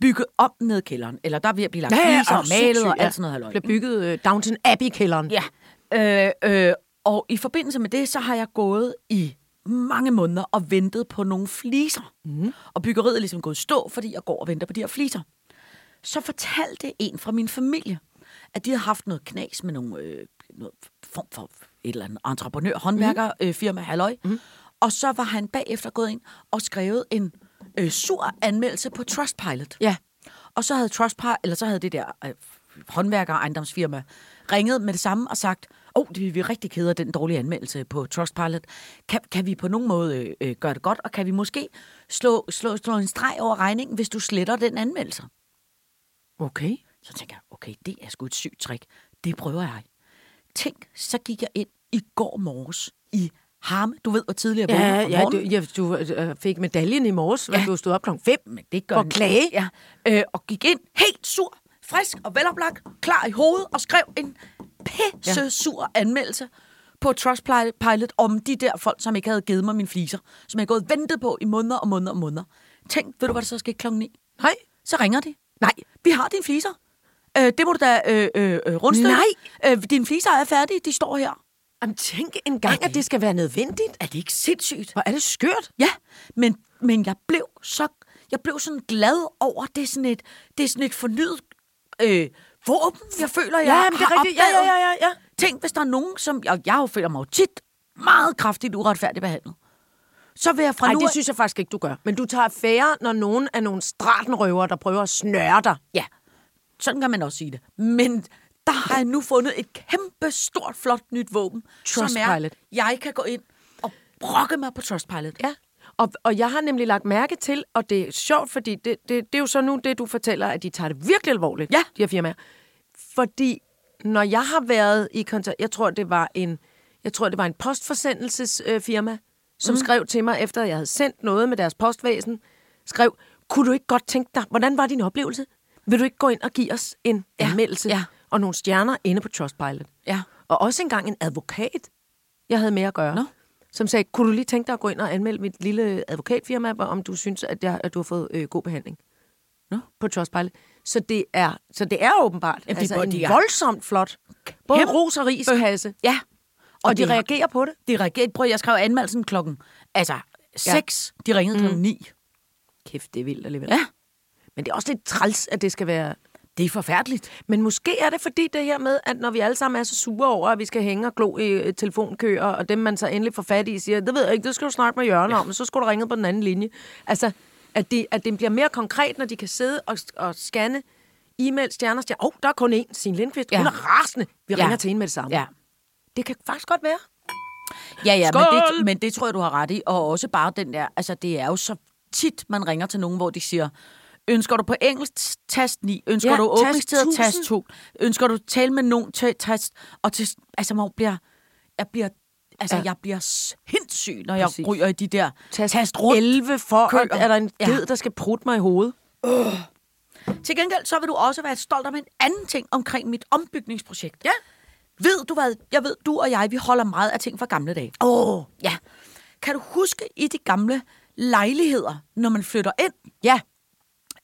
Speaker 4: bygge op ned i kælderen. Eller der er ved at blive lagt ja, fliser og malet og alt sådan noget. halløj.
Speaker 3: Bliver bygget øh, Downton Abbey-kælderen.
Speaker 4: Ja. Øh, øh, og i forbindelse med det, så har jeg gået i mange måneder og ventet på nogle fliser. Mm. Og byggeriet er ligesom gået i stå, fordi jeg går og venter på de her fliser. Så fortalte en fra min familie, at de havde haft noget knas med nogle, øh, noget form for et eller andet entreprenør, håndværker, mm. øh, firma, halløj. Mm. Og så var han bagefter gået ind og skrevet en øh, sur anmeldelse på Trustpilot.
Speaker 3: Ja.
Speaker 4: Og så havde Trustpilot, eller så havde det der øh, håndværker- og ejendomsfirma ringet med det samme og sagt, åh, oh, det er vi er rigtig kede af den dårlige anmeldelse på Trustpilot. Kan, kan vi på nogen måde øh, øh, gøre det godt, og kan vi måske slå, slå, slå en streg over regningen, hvis du sletter den anmeldelse?
Speaker 3: Okay.
Speaker 4: Så tænker jeg, okay, det er sgu et sygt trick. Det prøver jeg. Tænk, så gik jeg ind i går morges i Harme. Du ved, hvor tidligere jeg vågnede
Speaker 3: Ja,
Speaker 4: om
Speaker 3: ja, du,
Speaker 4: morgenen.
Speaker 3: ja, du øh, fik medaljen i morges, ja. du stod op klokken 5.
Speaker 4: men det gør
Speaker 3: For
Speaker 4: den.
Speaker 3: klage?
Speaker 4: Ja, øh, og gik ind helt sur, frisk og veloplagt, klar i hovedet og skrev en pisse sur anmeldelse på Trustpilot om de der folk, som ikke havde givet mig mine fliser, som jeg havde gået og ventet på i måneder og måneder og måneder. Tænk, ved du, hvad der så skete klokken 9?
Speaker 3: Nej.
Speaker 4: Så ringer de. Nej, vi har dine fliser. Øh, det må du da øh, øh, øh, rundstykke.
Speaker 3: Nej.
Speaker 4: Øh, dine fliser er færdige, de står her.
Speaker 3: Jamen, tænk en gang, at det skal være nødvendigt.
Speaker 4: Er det ikke sindssygt?
Speaker 3: Hvor er det skørt?
Speaker 4: Ja, men, men jeg blev så jeg blev sådan glad over, det er sådan et, det er sådan et fornyet øh, våben, jeg føler, jeg
Speaker 3: Ja, men det er
Speaker 4: har
Speaker 3: rigtigt. Ja,
Speaker 4: opdaget.
Speaker 3: ja, ja, ja, ja.
Speaker 4: Tænk, hvis der er nogen, som... Jeg, jeg jo føler mig jo tit meget kraftigt uretfærdigt behandlet. Så vil jeg fra
Speaker 3: Ej,
Speaker 4: nu...
Speaker 3: det synes jeg faktisk ikke, du gør. Men du tager affære, når nogen er nogle stratenrøver, der prøver at snøre dig.
Speaker 4: Ja, sådan kan man også sige det. Men der har jeg nu fundet et kæmpe, stort, flot nyt våben, som er,
Speaker 3: Trustpilot.
Speaker 4: jeg kan gå ind og brokke mig på Trustpilot.
Speaker 3: Ja. Og, og jeg har nemlig lagt mærke til, og det er sjovt, fordi det, det, det er jo så nu det, du fortæller, at de tager det virkelig alvorligt,
Speaker 4: Ja.
Speaker 3: de her firmaer. Fordi når jeg har været i kontakt, jeg tror, det var en, jeg tror, det var en postforsendelsesfirma, øh, firma, som
Speaker 4: Mhm.
Speaker 3: mm. skrev til mig, efter jeg havde sendt noget med deres postvæsen, skrev, kunne du ikke godt tænke dig, hvordan var din oplevelse? Vil du ikke gå ind og give os en ja. anmeldelse
Speaker 4: ja.
Speaker 3: og nogle stjerner inde på Trustpilot?
Speaker 4: Ja.
Speaker 3: Og også engang en advokat, jeg havde med at gøre,
Speaker 4: Nå.
Speaker 3: som sagde, kunne du lige tænke dig at gå ind og anmelde mit lille advokatfirma, hvor- om du synes, at, jeg, at du har fået øh, god behandling
Speaker 4: Nå.
Speaker 3: på Trustpilot. Så det er, så det er åbenbart
Speaker 4: Jamen, de
Speaker 3: altså
Speaker 4: bør-
Speaker 3: en
Speaker 4: de er-
Speaker 3: voldsomt flot, både
Speaker 4: Kæmpe-
Speaker 3: ros og riskasse,
Speaker 4: Ja.
Speaker 3: og, og de
Speaker 4: det-
Speaker 3: reagerer på det.
Speaker 4: De reagerede. Prøv, jeg skrev anmeldelsen klokken altså, 6. De ringede
Speaker 3: Mm.
Speaker 4: klokken 9.
Speaker 3: Kæft, det er vildt alligevel.
Speaker 4: Ja.
Speaker 3: Men det er også lidt træls, at det skal være...
Speaker 4: Det er forfærdeligt.
Speaker 3: Men måske er det fordi det her med, at når vi alle sammen er så sure over, at vi skal hænge og glo i øh, telefonkøer, og dem man så endelig får fat i, siger, det ved jeg ikke, det skal du snakke med Jørgen om, så skulle du ringe på den anden linje. Altså, at det, at det bliver mere konkret, når de kan sidde og, og scanne e-mail, stjerner, stjerner. Åh, oh, der er kun én, Signe Lindqvist. Ja. Hun
Speaker 4: Ja.
Speaker 3: er rasende. Vi
Speaker 4: Ja.
Speaker 3: ringer til hende med det samme.
Speaker 4: Ja.
Speaker 3: Det kan faktisk godt være.
Speaker 4: Ja, ja, men
Speaker 3: Skål!
Speaker 4: det, men det tror jeg, du har ret i. Og også bare den der, altså det er jo så tit, man ringer til nogen, hvor de siger, ønsker du på engelsk, tast 9. Ønsker
Speaker 3: Ja,
Speaker 4: du
Speaker 3: tast
Speaker 4: åbningstider,
Speaker 3: 1000.
Speaker 4: tast 2. Ønsker du tale med nogen, ta- tast... Og til, altså, man bliver, jeg bliver Altså, ja.
Speaker 3: Ja.
Speaker 4: jeg bliver sindssyg, når jeg
Speaker 3: Præcis.
Speaker 4: ryger i de der tast, tast rundt.
Speaker 3: 11 for,
Speaker 4: køer.
Speaker 3: at, er der en
Speaker 4: Ja.
Speaker 3: ged, der skal prutte mig i hovedet.
Speaker 4: Til gengæld så vil du også være stolt om en anden ting omkring mit ombygningsprojekt.
Speaker 3: Ja.
Speaker 4: Ved du hvad? Jeg ved, du og jeg, vi holder meget af ting fra gamle dage.
Speaker 3: Åh, oh,
Speaker 4: Ja. Kan du huske i de gamle lejligheder, når man flytter ind
Speaker 3: ja.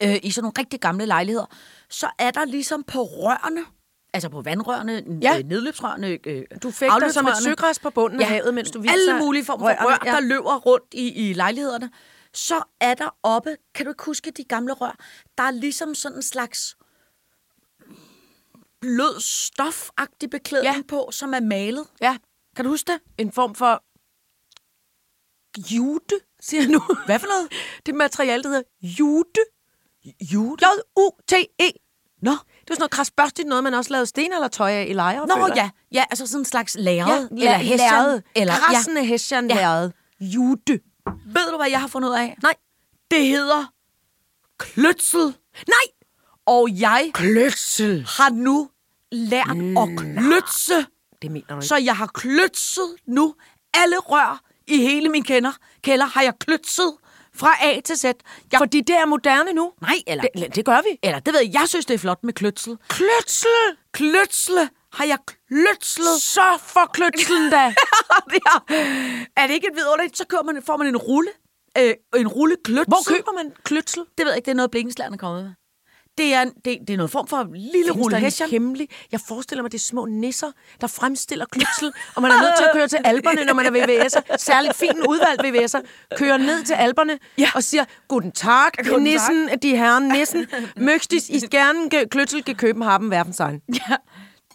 Speaker 4: øh, i sådan nogle rigtig gamle lejligheder, så er der ligesom på rørene, altså på vandrørene, ja.
Speaker 3: Ja.
Speaker 4: øh, nedløbsrørene, øh,
Speaker 3: Du fægter som et
Speaker 4: afløbsrørene.
Speaker 3: søgræs på bunden af havet, mens du viser
Speaker 4: Alle mulige former for
Speaker 3: rørene,
Speaker 4: rør,
Speaker 3: ja.
Speaker 4: der løber rundt i, i lejlighederne. Så er der oppe, kan du ikke huske de gamle rør, der er ligesom sådan en slags blød stofagtig beklædning ja.
Speaker 3: Ja.
Speaker 4: på, som er malet.
Speaker 3: ja.
Speaker 4: Kan du huske det?
Speaker 3: en form for jute, siger jeg nu. Hvad for noget? Det materiale, der hedder jute. Jute? J-U-T-E. Nå. E. Det var sådan noget krasbørstigt noget, man også lavede sten eller tøj af i lejre.
Speaker 4: Nå
Speaker 3: føler jeg.
Speaker 4: ja, ja, altså sådan en slags lærred,
Speaker 3: Ja, eller hæsjan. Eller, Krassende ja. hæsjan
Speaker 4: Ja.
Speaker 3: lærred. Jute.
Speaker 4: Ved du, hvad jeg har fundet ud af?
Speaker 3: Nej.
Speaker 4: Det hedder kløtsel. Nej! Og jeg
Speaker 3: Kløksel.
Speaker 4: har nu lært at kløtse,
Speaker 3: Det mener du ikke.
Speaker 4: så jeg har kløtset nu alle rør i hele min kender. kælder har jeg kløtset Fra A til Z. Jeg,
Speaker 3: Fordi det er moderne nu.
Speaker 4: nej, eller det,
Speaker 3: Det, det gør vi.
Speaker 4: eller det ved jeg, jeg synes, det er flot med kløtsel.
Speaker 3: Kløtsel!
Speaker 4: Kløtsle! Har jeg kløtslet?
Speaker 3: Så for kløtselen da.
Speaker 4: det er, er det ikke et vidunderligt? Så køber man, får man en rulle. Øh, en rulle kløtsel.
Speaker 3: Hvor køber man kløtsel?
Speaker 4: Det ved jeg ikke, det er noget, Blinkenslæren er kommet med. Det er, en, det, det er noget form for lille rulle
Speaker 3: Findes der
Speaker 4: hessian.
Speaker 3: en hemmelig? Jeg forestiller mig, det er små nisser, der fremstiller kløtsel, og man er nødt til at køre til alberne, når man er VVS'er. Særligt fint udvalgt VVS'er. Kører ned til alberne ja. og siger, Guten Tag,
Speaker 4: Guten Tag."
Speaker 3: nissen, de herren nissen, møgtes i gerne ge- kløtsel ge København werfen sein.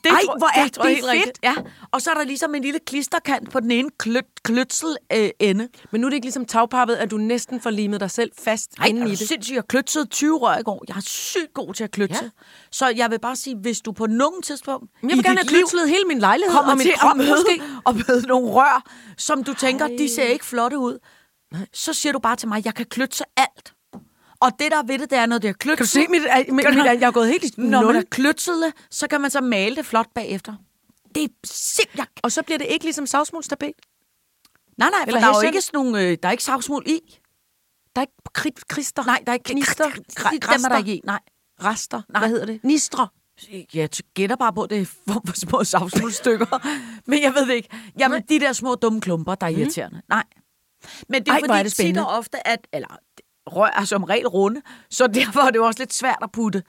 Speaker 4: Det
Speaker 3: Ej, hvor er det
Speaker 4: jeg helt
Speaker 3: fedt.
Speaker 4: rigtigt. Ja. Og så er der ligesom en lille klisterkant på den ene klø, kløtsel øh, ende.
Speaker 3: Men nu er det ikke ligesom tagpappet, at du næsten får limet dig selv fast
Speaker 4: Ej, er
Speaker 3: inde i
Speaker 4: du
Speaker 3: det.
Speaker 4: sindssygt, jeg kløtsede 20 rør i går. Jeg er sygt god til at kløtse. Ja.
Speaker 3: Ja.
Speaker 4: Så jeg vil bare sige, hvis du på nogen tidspunkt
Speaker 3: Men Jeg vil gerne have kløtslet hele min lejlighed
Speaker 4: kommer
Speaker 3: og min
Speaker 4: til
Speaker 3: krop
Speaker 4: at møde,
Speaker 3: måske.
Speaker 4: og møde nogle rør, som du tænker, de ser ikke flotte ud, så siger du bare til mig, jeg kan kløtse alt. Og det, der er ved det, det er noget, det er kløtset.
Speaker 3: Kan du se mit, mit, mit, mit jeg er gået helt i
Speaker 4: Når man
Speaker 3: nul.
Speaker 4: har kløtset det, så kan man så male det flot bagefter. Det er simpelthen...
Speaker 3: Og så bliver det ikke ligesom savsmulstapet.
Speaker 4: Nej, nej, for
Speaker 3: Eller
Speaker 4: der er jo
Speaker 3: hessian.
Speaker 4: ikke sådan nogle... Øh, der er ikke savsmul i.
Speaker 3: Der er ikke kri- krister.
Speaker 4: Nej, der er ikke...
Speaker 3: Gnister.
Speaker 4: Dem er der ikke i, nej.
Speaker 3: Rester.
Speaker 4: Nej.
Speaker 3: Hvad hedder det? Nistre.
Speaker 4: Jeg t- gætter bare på, at det er for, for små savsmulstykker. Men jeg ved det ikke. Jamen, de der små dumme klumper, der er irriterende. Nej. Men det er
Speaker 3: Mhm. Ej, hvor
Speaker 4: fordi,
Speaker 3: er det
Speaker 4: tit
Speaker 3: spændende.
Speaker 4: og ofte, at eller, rør er som regel runde, så derfor er det jo også lidt svært at putte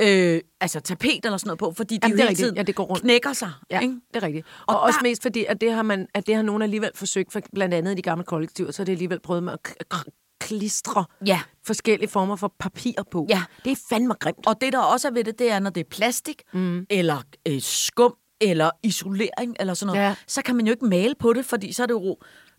Speaker 4: øh, altså tapet eller sådan noget på, fordi de
Speaker 3: Jamen,
Speaker 4: jo
Speaker 3: det er
Speaker 4: hele
Speaker 3: rigtigt.
Speaker 4: tiden
Speaker 3: Ja, det går rundt.
Speaker 4: knækker sig.
Speaker 3: Ja,
Speaker 4: Ikke?
Speaker 3: det er rigtigt. Og, og også mest fordi, at det har, man, at det har nogen alligevel forsøgt, for blandt andet i de gamle kollektiver, så har de alligevel prøvet med at k- k- klistre
Speaker 4: Ja.
Speaker 3: forskellige former for papir på.
Speaker 4: Ja.
Speaker 3: Det er fandme grimt.
Speaker 4: Og det, der også er ved det, det er, når det er plastik, mm. eller øh, skum, eller isolering, eller sådan noget, ja.
Speaker 3: Ja.
Speaker 4: så kan man jo ikke male på det, fordi så er det jo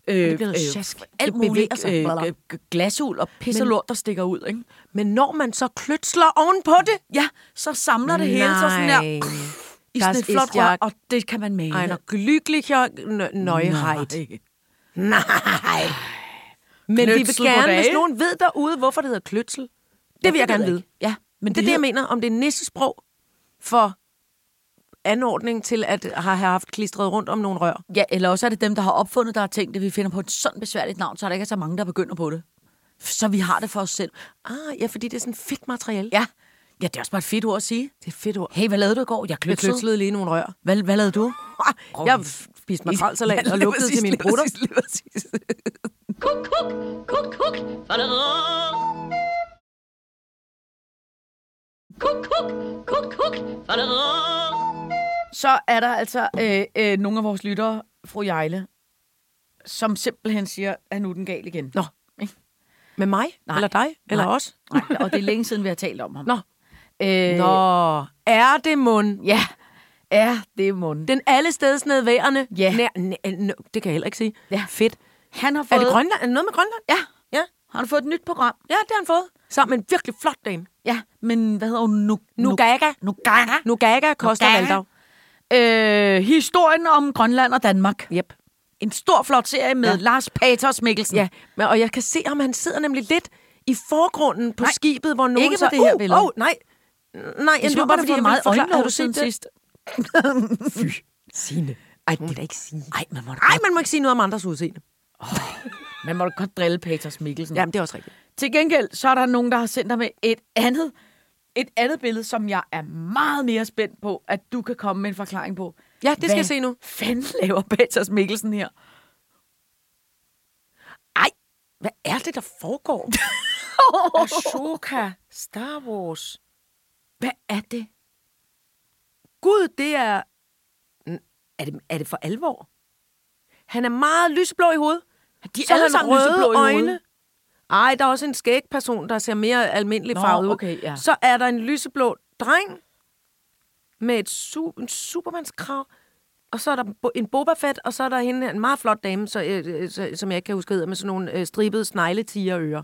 Speaker 4: øh, det
Speaker 3: bliver noget sjask.
Speaker 4: alt
Speaker 3: Det bevæger
Speaker 4: muligt
Speaker 3: sig.
Speaker 4: øh,
Speaker 3: Blablabla.
Speaker 4: g- g- glasul og pis og lort, der stikker ud. Ikke?
Speaker 3: Men når man så kløtsler ovenpå det,
Speaker 4: Ja, så samler det hele sig sådan der,
Speaker 3: Nej.
Speaker 4: i
Speaker 3: Das
Speaker 4: sådan et
Speaker 3: ist
Speaker 4: flot rør,
Speaker 3: ja-
Speaker 4: og det kan man male.
Speaker 3: einer glücklicher N- Neuheit.
Speaker 4: Nej.
Speaker 3: Nej. Men vi vil
Speaker 4: Kløtsel på
Speaker 3: gerne,
Speaker 4: dage.
Speaker 3: hvis nogen ved derude, hvorfor det hedder kløtsel, det vil jeg gerne vide.
Speaker 4: Ja, men
Speaker 3: Men det er det, jeg mener, om det er nissesprog for anordning til at have haft klistret rundt om nogle rør.
Speaker 4: Ja, eller også er det dem, der har opfundet, der har tænkt, at vi finder på et sådan besværligt navn, så er der ikke er så mange, der begynder på det. Så vi har det for os selv.
Speaker 3: Ah, ja, fordi det er sådan fedt materiale.
Speaker 4: Ja, ja det er også bare et fedt ord at sige.
Speaker 3: Det er fedt ord.
Speaker 4: Hey, hvad lavede du i går? Jeg
Speaker 3: Jeg
Speaker 4: kløtsede.
Speaker 3: kløtslede lige nogle rør.
Speaker 4: Hvad, hvad lavede du?
Speaker 3: Jeg f- spiste makrelsalat og lugtede til mine brutter.
Speaker 7: Kuk, kuk, kuk, kuk. Faderor. Kuk, kuk, kuk, kuk. Faderor.
Speaker 4: Så er der altså øh, øh, nogle af vores lyttere, fru Jejle, som simpelthen siger, at nu er den gal igen.
Speaker 3: Nå. Med mig?
Speaker 4: Nej.
Speaker 3: Nej. Eller dig? Eller
Speaker 4: Nej.
Speaker 3: os?
Speaker 4: Nej, og det er længe siden, vi har talt om ham.
Speaker 3: Nå.
Speaker 4: Øh,
Speaker 3: Nå, er det mund?
Speaker 4: Ja, ja, det er munden.
Speaker 3: Den allesteds nedværende?
Speaker 4: Ja.
Speaker 3: Nær, næ- nå, det kan jeg heller ikke sige.
Speaker 4: Ja.
Speaker 3: Fedt.
Speaker 4: Han har fået...
Speaker 3: Er det Grønland? Er det noget med Grønland?
Speaker 4: Ja,
Speaker 3: Ja.
Speaker 4: han har fået et nyt program.
Speaker 3: Ja, det har han fået. Sammen med en virkelig flot dame.
Speaker 4: Ja, men hvad hedder hun? Nu,
Speaker 3: Nugaga.
Speaker 4: Nugaga.
Speaker 3: Nugaga Koster
Speaker 4: Nugaga.
Speaker 3: Valdau.
Speaker 4: Øh, historien om Grønland og Danmark.
Speaker 3: Yep.
Speaker 4: En stor, flot serie med ja.
Speaker 3: Ja.
Speaker 4: Lars Paters Mikkelsen.
Speaker 3: Ja, men, og jeg kan se ham, han sidder nemlig lidt i forgrunden på
Speaker 4: Nej,
Speaker 3: nej, skibet, hvor nogen
Speaker 4: ikke på
Speaker 3: så...
Speaker 4: det her billede.
Speaker 3: Uh, oh, nej, nej,
Speaker 4: Jeg
Speaker 3: det
Speaker 4: tror
Speaker 3: var
Speaker 4: bare,
Speaker 3: bare,
Speaker 4: det
Speaker 3: fordi
Speaker 4: var meget
Speaker 3: jeg meget forklare, har
Speaker 4: øjenlåg
Speaker 3: du set
Speaker 4: siden
Speaker 3: det?
Speaker 4: sidst.
Speaker 3: Signe. Ej, det er da ikke sige.
Speaker 4: Ej, man må da
Speaker 3: Ej,
Speaker 4: godt,
Speaker 3: man må ikke sige noget om andres udseende.
Speaker 4: man må da godt drille Paters Mikkelsen.
Speaker 3: Jamen, det er også rigtigt.
Speaker 4: Til gengæld, så er der nogen, der har sendt dig med et andet, et andet billede, som jeg er meget mere spændt på, at du kan komme med en forklaring på.
Speaker 3: Ja, det skal
Speaker 4: Hvad
Speaker 3: jeg se nu.
Speaker 4: fanden laver Peters Mikkelsen her?
Speaker 3: Ej, hvad er det, der foregår? Ashoka, Star Wars.
Speaker 4: Hvad er det?
Speaker 3: Gud, det er... N- Er det, er det for alvor? Han er meget lyseblå i hovedet.
Speaker 4: De er
Speaker 3: Så har
Speaker 4: alle
Speaker 3: han
Speaker 4: sammen lyseblå i
Speaker 3: røde
Speaker 4: hovedet.
Speaker 3: øjne. Ej, der er også en skæg person, der ser mere almindelig
Speaker 4: Nå,
Speaker 3: farvet ud.
Speaker 4: okay, ja.
Speaker 3: Så er der en lyseblå dreng med et su- en supermandskrav. Og så er der bo- en Boba Fett, og så er der hende her, en meget flot dame, så, øh, øh, så, som jeg ikke kan huske, hvad hedder, med sådan nogle øh, stribede snegletigerører.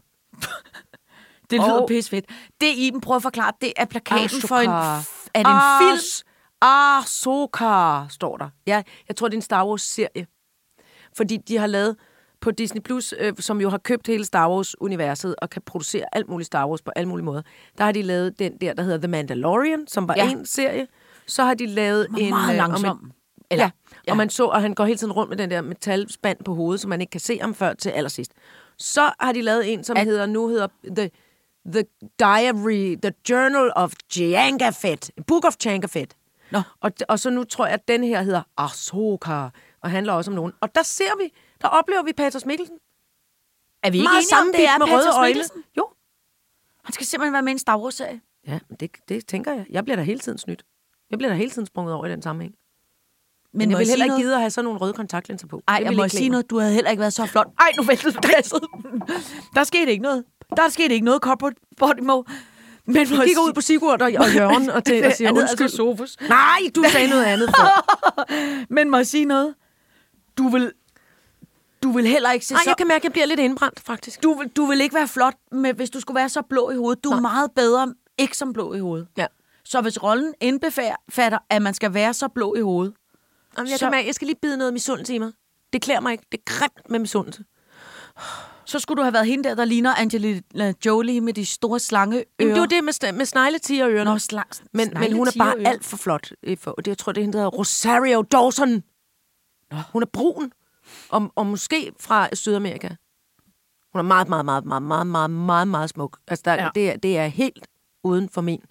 Speaker 4: Det lyder
Speaker 3: Og-
Speaker 4: pissefedt. Det Iben prøver at forklare, det er plakaten for en,
Speaker 3: Ahsoka.
Speaker 4: f- er det en film.
Speaker 3: Ah, Soka, står der. Ja, jeg tror, det er en Star Wars-serie. Fordi de har lavet på Disney+, Plus, øh, som jo har købt hele Star Wars-universet og kan producere alt muligt Star Wars på alle mulige måder, der har de lavet den der, der hedder The Mandalorian, som var
Speaker 4: Ja.
Speaker 3: ja. en serie. Så har de lavet
Speaker 4: Den var
Speaker 3: en...
Speaker 4: meget
Speaker 3: øh, om
Speaker 4: langsom.
Speaker 3: En,
Speaker 4: Eller-
Speaker 3: Eller, ja, ja, og man så, og han går hele tiden rundt med den der metalspand på hovedet, så man ikke kan se ham før til allersidst. Så har de lavet en, som
Speaker 4: At-
Speaker 3: hedder, nu hedder The, The Diary, The Journal of Janka Fett. Book of Janka Fett.
Speaker 4: Nå.
Speaker 3: Og, og så nu tror jeg, at den her hedder Ahsoka, og handler også om nogen. Og der ser vi, der oplever vi Patos Mikkelsen.
Speaker 4: Er vi ikke
Speaker 3: Meget
Speaker 4: enige om, det
Speaker 3: sammenbidt
Speaker 4: er
Speaker 3: med
Speaker 4: Patrick
Speaker 3: røde øjne.
Speaker 4: Mikkelsen?
Speaker 3: Jo,
Speaker 4: Han skal simpelthen være med i en Star Wars-serie.
Speaker 3: ja, men det, det tænker jeg. Jeg bliver da hele tiden snydt. Jeg bliver da hele tiden sprunget over i den sammenhæng. Men, Men jeg
Speaker 4: må
Speaker 3: vil
Speaker 4: sige
Speaker 3: heller ikke
Speaker 4: noget?
Speaker 3: gide at have sådan nogle røde kontaktlinser på.
Speaker 4: Ej,
Speaker 3: Det
Speaker 4: jeg
Speaker 3: vil
Speaker 4: må
Speaker 3: ikke klæde
Speaker 4: sige
Speaker 3: mig.
Speaker 4: noget. Du havde heller ikke været så flot. Ej, nu væltede du glasset. Der skete ikke noget. Der skete ikke noget, corporate body mo. Men du
Speaker 3: Jeg kigger ud på Sigurd og, og Jørgen og, til, og siger,
Speaker 4: Han hedder
Speaker 3: undskyld.
Speaker 4: altså Sofus.
Speaker 3: Nej, du sagde noget andet før.
Speaker 4: Men må jeg sige noget? Du vil, du vil heller ikke se
Speaker 3: Nej,
Speaker 4: så...
Speaker 3: jeg kan mærke, at jeg bliver lidt indbrændt, faktisk.
Speaker 4: Du, vil, du vil ikke være flot, med, hvis du skulle være så blå i hovedet. Du er meget bedre ikke som blå i hovedet.
Speaker 3: Ja.
Speaker 4: Så hvis rollen indbefatter, at man skal være så blå i hovedet,
Speaker 3: Jamen, jeg,
Speaker 4: Så-
Speaker 3: kan mærke, jeg skal lige bide noget misundelse i mig. Det klæder mig ikke. Det er grimt med misundelse.
Speaker 4: så skulle du have været hende der, der ligner Angelina Jolie med de store slangeører.
Speaker 3: Jamen, det var det med, st- med snegletigerørerne.
Speaker 4: Nå, sla-
Speaker 3: Men, men hun er bare alt for flot. øh, For, det, jeg tror, det er hende, der hedder Rosario Dawson. Hun er brun. Og, og måske fra Sydamerika. Hun er meget, meget, meget, meget, meget, meget, meget, meget smuk. Altså, der,
Speaker 4: Ja.
Speaker 3: ja. det, er, det er helt uden for min.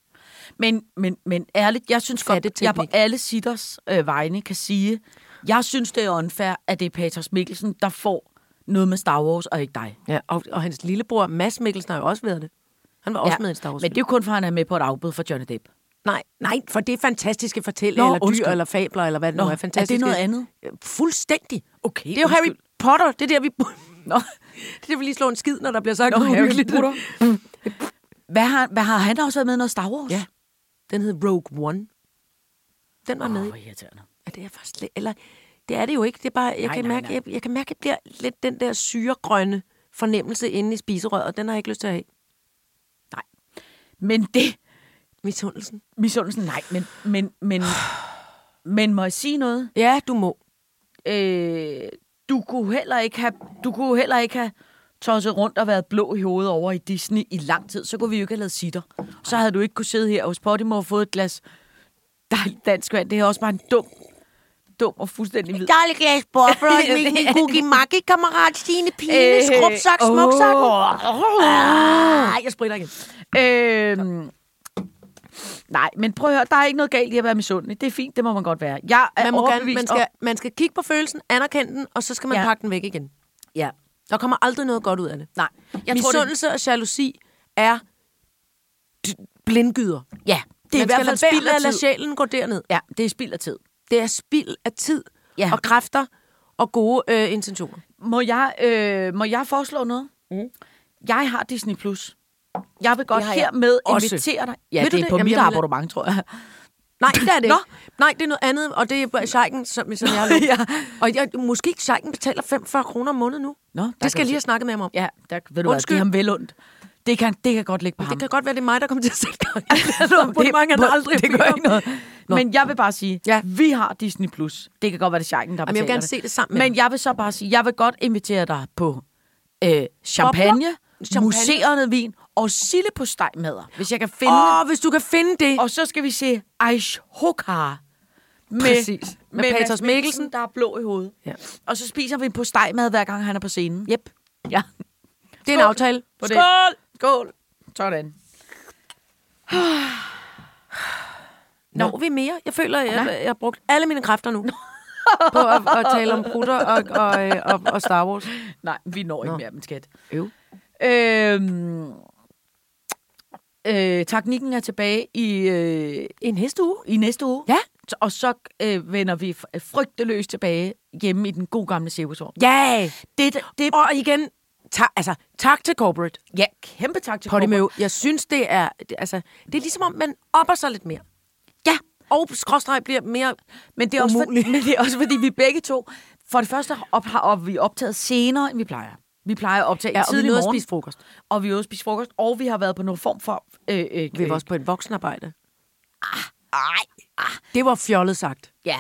Speaker 4: Men, men, men ærligt, jeg synes godt, at jeg på
Speaker 3: Fatteteknik.
Speaker 4: alle sitters øh, vegne kan sige, jeg synes, det er unfair, at det er Paters Mikkelsen, der får noget med Star Wars og ikke dig.
Speaker 3: Ja, og, og hans lillebror, Mads Mikkelsen, har jo også været det. Han var også med i Star Wars.
Speaker 4: Men det er jo kun, for han er med på et afbud for Johnny Depp.
Speaker 3: Nej, nej, for det er fantastiske
Speaker 4: Nå,
Speaker 3: fortællinger, eller dyr,
Speaker 4: undskyld.
Speaker 3: eller fabler, eller hvad det nu
Speaker 4: Nå,
Speaker 3: er.
Speaker 4: er det
Speaker 3: Fantastiske.
Speaker 4: noget andet?
Speaker 3: Øh, Fuldstændig.
Speaker 4: Okay,
Speaker 3: Det er jo Harry
Speaker 4: undskyld.
Speaker 3: Potter. Det er der, vi...
Speaker 4: Nå,
Speaker 3: Det er der, vi lige slår en skid, når der bliver sagt
Speaker 4: Nå
Speaker 3: noget
Speaker 4: Harry
Speaker 3: uhyggeligt.
Speaker 4: Potter. Hvad har, hvad har han også været med i noget Star Wars?
Speaker 3: Ja. Den hed Rogue One. Den var oh, med. i.
Speaker 4: Åh, irriterende.
Speaker 3: Ja, det er faktisk lidt, eller det er det jo ikke. Det er bare, jeg,
Speaker 4: Nej,
Speaker 3: kan
Speaker 4: nej,
Speaker 3: mærke,
Speaker 4: nej.
Speaker 3: Jeg, jeg kan mærke, at jeg bliver lidt den der syregrønne fornemmelse inde i spiserøret, og den har jeg ikke lyst til at have.
Speaker 4: Men det,
Speaker 3: Misundelsen.
Speaker 4: misundelsen, nej, men, men, men, men må jeg sige noget?
Speaker 3: Ja, du må.
Speaker 4: øh, du kunne heller ikke have, du kunne heller ikke have tosset rundt og været blå i hovedet over i Disney i lang tid, så kunne vi jo ikke have lavet sitter. Så havde du ikke kunne sidde her hos Podimo og fået et glas dejligt dansk vand. Det er også bare en dum, dum og fuldstændig hvid.
Speaker 3: Der er lidt glas bobler, min, min cookie makke, kammerat Stine Pine,
Speaker 4: Øh,
Speaker 3: skrubsak,
Speaker 4: åh.
Speaker 3: smuksak. Ah, jeg spritter igen.
Speaker 4: Øhm, nej, men prøv at høre, der er ikke noget galt i at være misundelig. Det er fint, det må man godt være. Jeg er
Speaker 3: Man, må gerne,
Speaker 4: overbevist
Speaker 3: man, skal, man skal kigge på følelsen, anerkende den, og så skal man
Speaker 4: Ja.
Speaker 3: ja. pakke den væk igen.
Speaker 4: om, ja,
Speaker 3: Der kommer aldrig noget godt ud af det.
Speaker 4: nej. Jeg tror, det,
Speaker 3: Misundelse og jalousi er d- blindgyder.
Speaker 4: ja, det
Speaker 3: Det
Speaker 4: er
Speaker 3: er
Speaker 4: i
Speaker 3: man
Speaker 4: hvert
Speaker 3: skal
Speaker 4: fald
Speaker 3: lade være
Speaker 4: spild
Speaker 3: med at
Speaker 4: af
Speaker 3: lade
Speaker 4: tid.
Speaker 3: sjælen gå derned.
Speaker 4: Ja, det er spild af tid.
Speaker 3: Det er spild af tid
Speaker 4: Ja.
Speaker 3: ja. og kræfter og gode øh, intentioner.
Speaker 4: Må jeg, øh, må jeg foreslå noget? Mm. Jeg har Disney+. Plus. Jeg vil godt
Speaker 3: Det har jeg
Speaker 4: hermed
Speaker 3: også.
Speaker 4: invitere dig. Ja,
Speaker 3: Ved
Speaker 4: det
Speaker 3: du
Speaker 4: er
Speaker 3: det?
Speaker 4: på
Speaker 3: Jamen,
Speaker 4: mit
Speaker 3: jeg vil-
Speaker 4: abonnement, tror jeg.
Speaker 3: Nej, det er det
Speaker 4: Nå.
Speaker 3: ikke. Nej, det er noget andet, og det er Scheiken, som, som jeg har lånt.
Speaker 4: ja.
Speaker 3: Og jeg, måske Scheiken betaler 45 kroner om måneden nu.
Speaker 4: Nå, der kan
Speaker 3: det skal
Speaker 4: du
Speaker 3: jeg lige
Speaker 4: se.
Speaker 3: have snakket med ham om.
Speaker 4: Ja, der, ved du hvad, det er
Speaker 3: Undskyld.
Speaker 4: ham vel ondt. Det kan, det kan godt ligge på ham. Altså,
Speaker 3: Det kan godt være, det er mig, der kommer til at sætte gang.
Speaker 4: Nå,
Speaker 3: det, mange, han aldrig
Speaker 4: det
Speaker 3: beder
Speaker 4: gør
Speaker 3: om.
Speaker 4: ikke noget.
Speaker 3: Nå.
Speaker 4: Men jeg vil bare sige, ja.
Speaker 3: Ja.
Speaker 4: vi har Disney+. Plus. Det kan godt være, det er Sjejken, der
Speaker 3: Jamen, jeg
Speaker 4: betaler
Speaker 3: vil gerne
Speaker 4: det.
Speaker 3: se det sammen med
Speaker 4: Men jeg vil så bare sige, jeg vil godt invitere dig på øh, champagne,
Speaker 3: Champagne.
Speaker 4: museerne vin og sille på stegmadder, hvis jeg kan finde
Speaker 3: Åh, hvis du kan finde det.
Speaker 4: Og så skal vi se Aish Hokar. Med,
Speaker 3: Præcis. Med Paters
Speaker 4: Mads
Speaker 3: Mikkelsen.
Speaker 4: der er blå i hovedet.
Speaker 3: Ja.
Speaker 4: Og så spiser vi en på stegmad, hver gang han er på scenen.
Speaker 3: Yep.
Speaker 4: Ja.
Speaker 3: Det er en aftale.
Speaker 4: På det. Skål! Skål! Sådan.
Speaker 3: Når vi mere? Jeg føler, jeg, jeg, jeg har brugt alle mine kræfter nu på at, at tale om brutter og, og, øh, og, og Star Wars.
Speaker 4: Nej, vi når ikke mere, min skat.
Speaker 3: Øv.
Speaker 4: Øhm, øh, teknikken er tilbage i, øh,
Speaker 3: En hesteuge.
Speaker 4: i næste uge.
Speaker 3: Ja.
Speaker 4: Og så øh, vender vi f- frygteløst tilbage hjemme i den gode gamle cirkusvogn.
Speaker 3: Ja! Yeah.
Speaker 4: Det, det,
Speaker 3: Og igen, ta, altså, tak til corporate.
Speaker 4: ja, kæmpe tak til Corporate.
Speaker 3: Podimo. Jeg synes, det er... Det, altså, det er ligesom, om man opper sig lidt mere.
Speaker 4: Ja,
Speaker 3: Og skråstreg bliver mere...
Speaker 4: Men det, er også for,
Speaker 3: Umuligt.
Speaker 4: men det er også fordi, vi begge to, for det første op, har op, vi optaget senere, end vi plejer. Vi plejer at optage
Speaker 3: Ja,
Speaker 4: ja,
Speaker 3: og vi
Speaker 4: tidlig
Speaker 3: nåede at
Speaker 4: morgen.
Speaker 3: spise frokost.
Speaker 4: Og vi nåede at spise frokost, og vi har været på noget form for... Øh, øh,
Speaker 3: Vi var også på et voksenarbejde. Ah, det var fjollet sagt.
Speaker 4: Ja,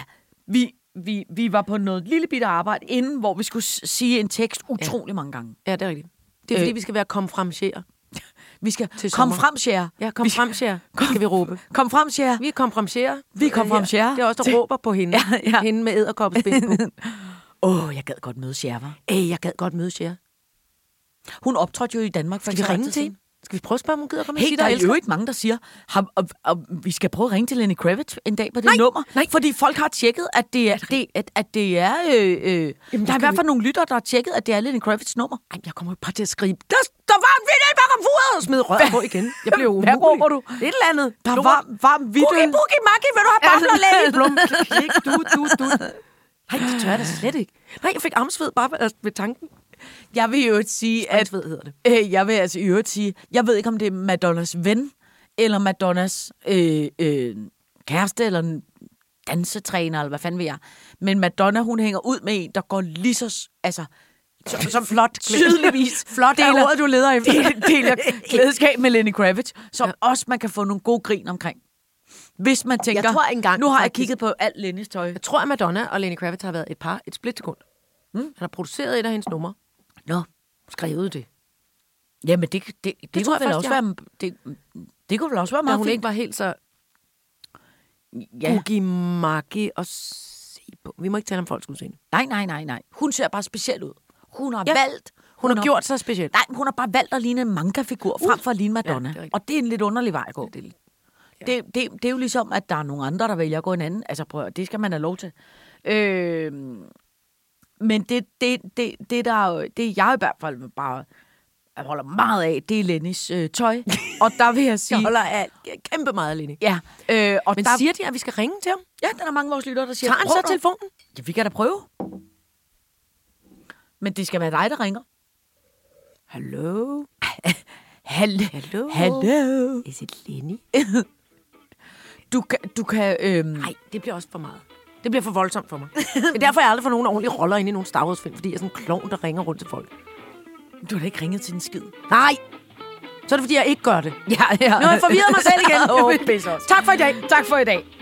Speaker 4: vi, vi, vi var på noget lille bitte arbejde inden, hvor vi skulle s- sige en tekst utrolig ja. mange gange.
Speaker 3: Ja, det er rigtigt. Øh. Det er, fordi vi skal være komme frem, sjære.
Speaker 4: Vi skal...
Speaker 3: Til
Speaker 4: kom
Speaker 3: sommer.
Speaker 4: frem, Sjære.
Speaker 3: Ja, kom frem, sjære. Skal vi råbe.
Speaker 4: Kom frem, Sjære.
Speaker 3: Vi er kom frem, sjære.
Speaker 4: Vi er kom frem, sjære.
Speaker 3: Det er også der råber på hende.
Speaker 4: Ja, ja.
Speaker 3: Hende med æderkoppespind på.
Speaker 4: Åh, oh, jeg gad godt møde Sjære, var.
Speaker 3: Ej, jeg gad godt møde sjære.
Speaker 4: Hun optrådte jo i Danmark for
Speaker 3: Skal vi
Speaker 4: ikke så lang
Speaker 3: ringe
Speaker 4: tid
Speaker 3: til
Speaker 4: siden.
Speaker 3: hende? Skal vi prøve at spørge, om hun gider komme og
Speaker 4: Hey,
Speaker 3: sige,
Speaker 4: der
Speaker 3: der
Speaker 4: er
Speaker 3: elsker?
Speaker 4: jo ikke mange, der siger, ham, og, og, vi skal prøve at ringe til Lenny Kravitz en dag på det nej, nummer. Nej. Fordi folk har tjekket, at det er... Det, at, at det er øh, øh, Jamen, der er i hvert fald nogle lytter, der har tjekket, at det er Lenny Kravitz nummer.
Speaker 3: Ej, jeg kommer jo bare til at skrive, der, der var en vinyl bakom furet! Og smide røret på igen. Jeg blev umulig.
Speaker 4: Hvad råber du?
Speaker 3: Et eller andet.
Speaker 4: Der er varm, varm vidt.
Speaker 3: Boogie, boogie, magi, vil du have bobler
Speaker 4: Ja.
Speaker 3: læge? Blum, klik, du, du, du. Nej, det tør jeg da slet ikke. Nej, jeg fik armsved bare ved, altså, ved tanken.
Speaker 4: Jeg vil jo sige, at...
Speaker 3: Armsved hedder det.
Speaker 4: Øh, jeg vil altså i øvrigt sige, jeg ved ikke, om det er Madonnas ven, eller Madonnas øh, øh, kæreste, eller en dansetræner, eller hvad fanden ved jeg. Men Madonna, hun hænger ud med en, der går lige så... s- Altså, som, som flot, tydeligvis. flot
Speaker 3: er ordet, du leder efter.
Speaker 4: Deler, deler glædeskab med Lenny Kravitz, som ja. også man kan få nogle gode grin omkring. Hvis man tænker,
Speaker 3: tror engang,
Speaker 4: nu har jeg
Speaker 3: faktisk-
Speaker 4: kigget på alt Lennys tøj.
Speaker 3: Jeg tror, at Madonna og Lenny Kravitz har været et par et splitsekund. Mm. Han har produceret et af hendes numre.
Speaker 4: Nå,
Speaker 3: Skrevet det.
Speaker 4: jamen det, det, det, det, det
Speaker 3: tror
Speaker 4: kunne
Speaker 3: jeg
Speaker 4: vel
Speaker 3: faktisk,
Speaker 4: også
Speaker 3: jeg
Speaker 4: være... Det, det kunne vel også være
Speaker 3: Da
Speaker 4: meget
Speaker 3: hun
Speaker 4: fint.
Speaker 3: ikke var helt så
Speaker 4: ja.
Speaker 3: boogie, magi og se på. Vi må ikke tale om folks udseende.
Speaker 4: Nej, nej, nej, nej. Hun ser bare speciel ud. Hun har ja. valgt...
Speaker 3: Hun har gjort sig speciel.
Speaker 4: Nej, men hun har bare valgt at ligne en manga-figur uh. frem for at ligne Madonna.
Speaker 3: Ja, det
Speaker 4: Ja, det
Speaker 3: er rigtigt.
Speaker 4: og det er en lidt underlig vej at gå. Ja, det, ja. det, det, det er jo ligesom, at der er nogle andre, der vælger at gå en anden. Altså prøv at, høre, det skal man have lov til. Øh, men det, det, det, det, der, jo- det jeg i hvert fald bare jeg holder meget af, det er Lennys øh, tøj. og der vil jeg sige...
Speaker 3: Jeg holder af kæmpe meget, Lenny.
Speaker 4: Ja, øh, og
Speaker 3: Men
Speaker 4: der,
Speaker 3: der... siger de, at vi skal ringe til ham?
Speaker 4: ja, der er mange af vores lyttere, der siger...
Speaker 3: Tager han
Speaker 4: "Prøv
Speaker 3: så
Speaker 4: dog."
Speaker 3: telefonen?
Speaker 4: Ja, vi kan da prøve. Men det skal være dig, der ringer.
Speaker 3: Hallo?
Speaker 4: Hallo.
Speaker 3: Hallo?
Speaker 4: Hallo.
Speaker 3: Is it Lenny?
Speaker 4: Du kan... Du kan øhm,
Speaker 3: Nej, Mm. det bliver også for meget. Det bliver for voldsomt for mig. Det er derfor, jeg aldrig får nogen ordentlige roller ind i nogen Star Wars-film, fordi jeg er sådan en klovn, der ringer rundt til folk.
Speaker 4: du har da ikke ringet til en skid.
Speaker 3: Nej! Så er det, fordi jeg ikke gør det.
Speaker 4: Ja, ja.
Speaker 3: Nu har jeg forvirret mig selv igen.
Speaker 4: Åh, pis også.
Speaker 3: tak for i dag.
Speaker 4: Tak for i dag.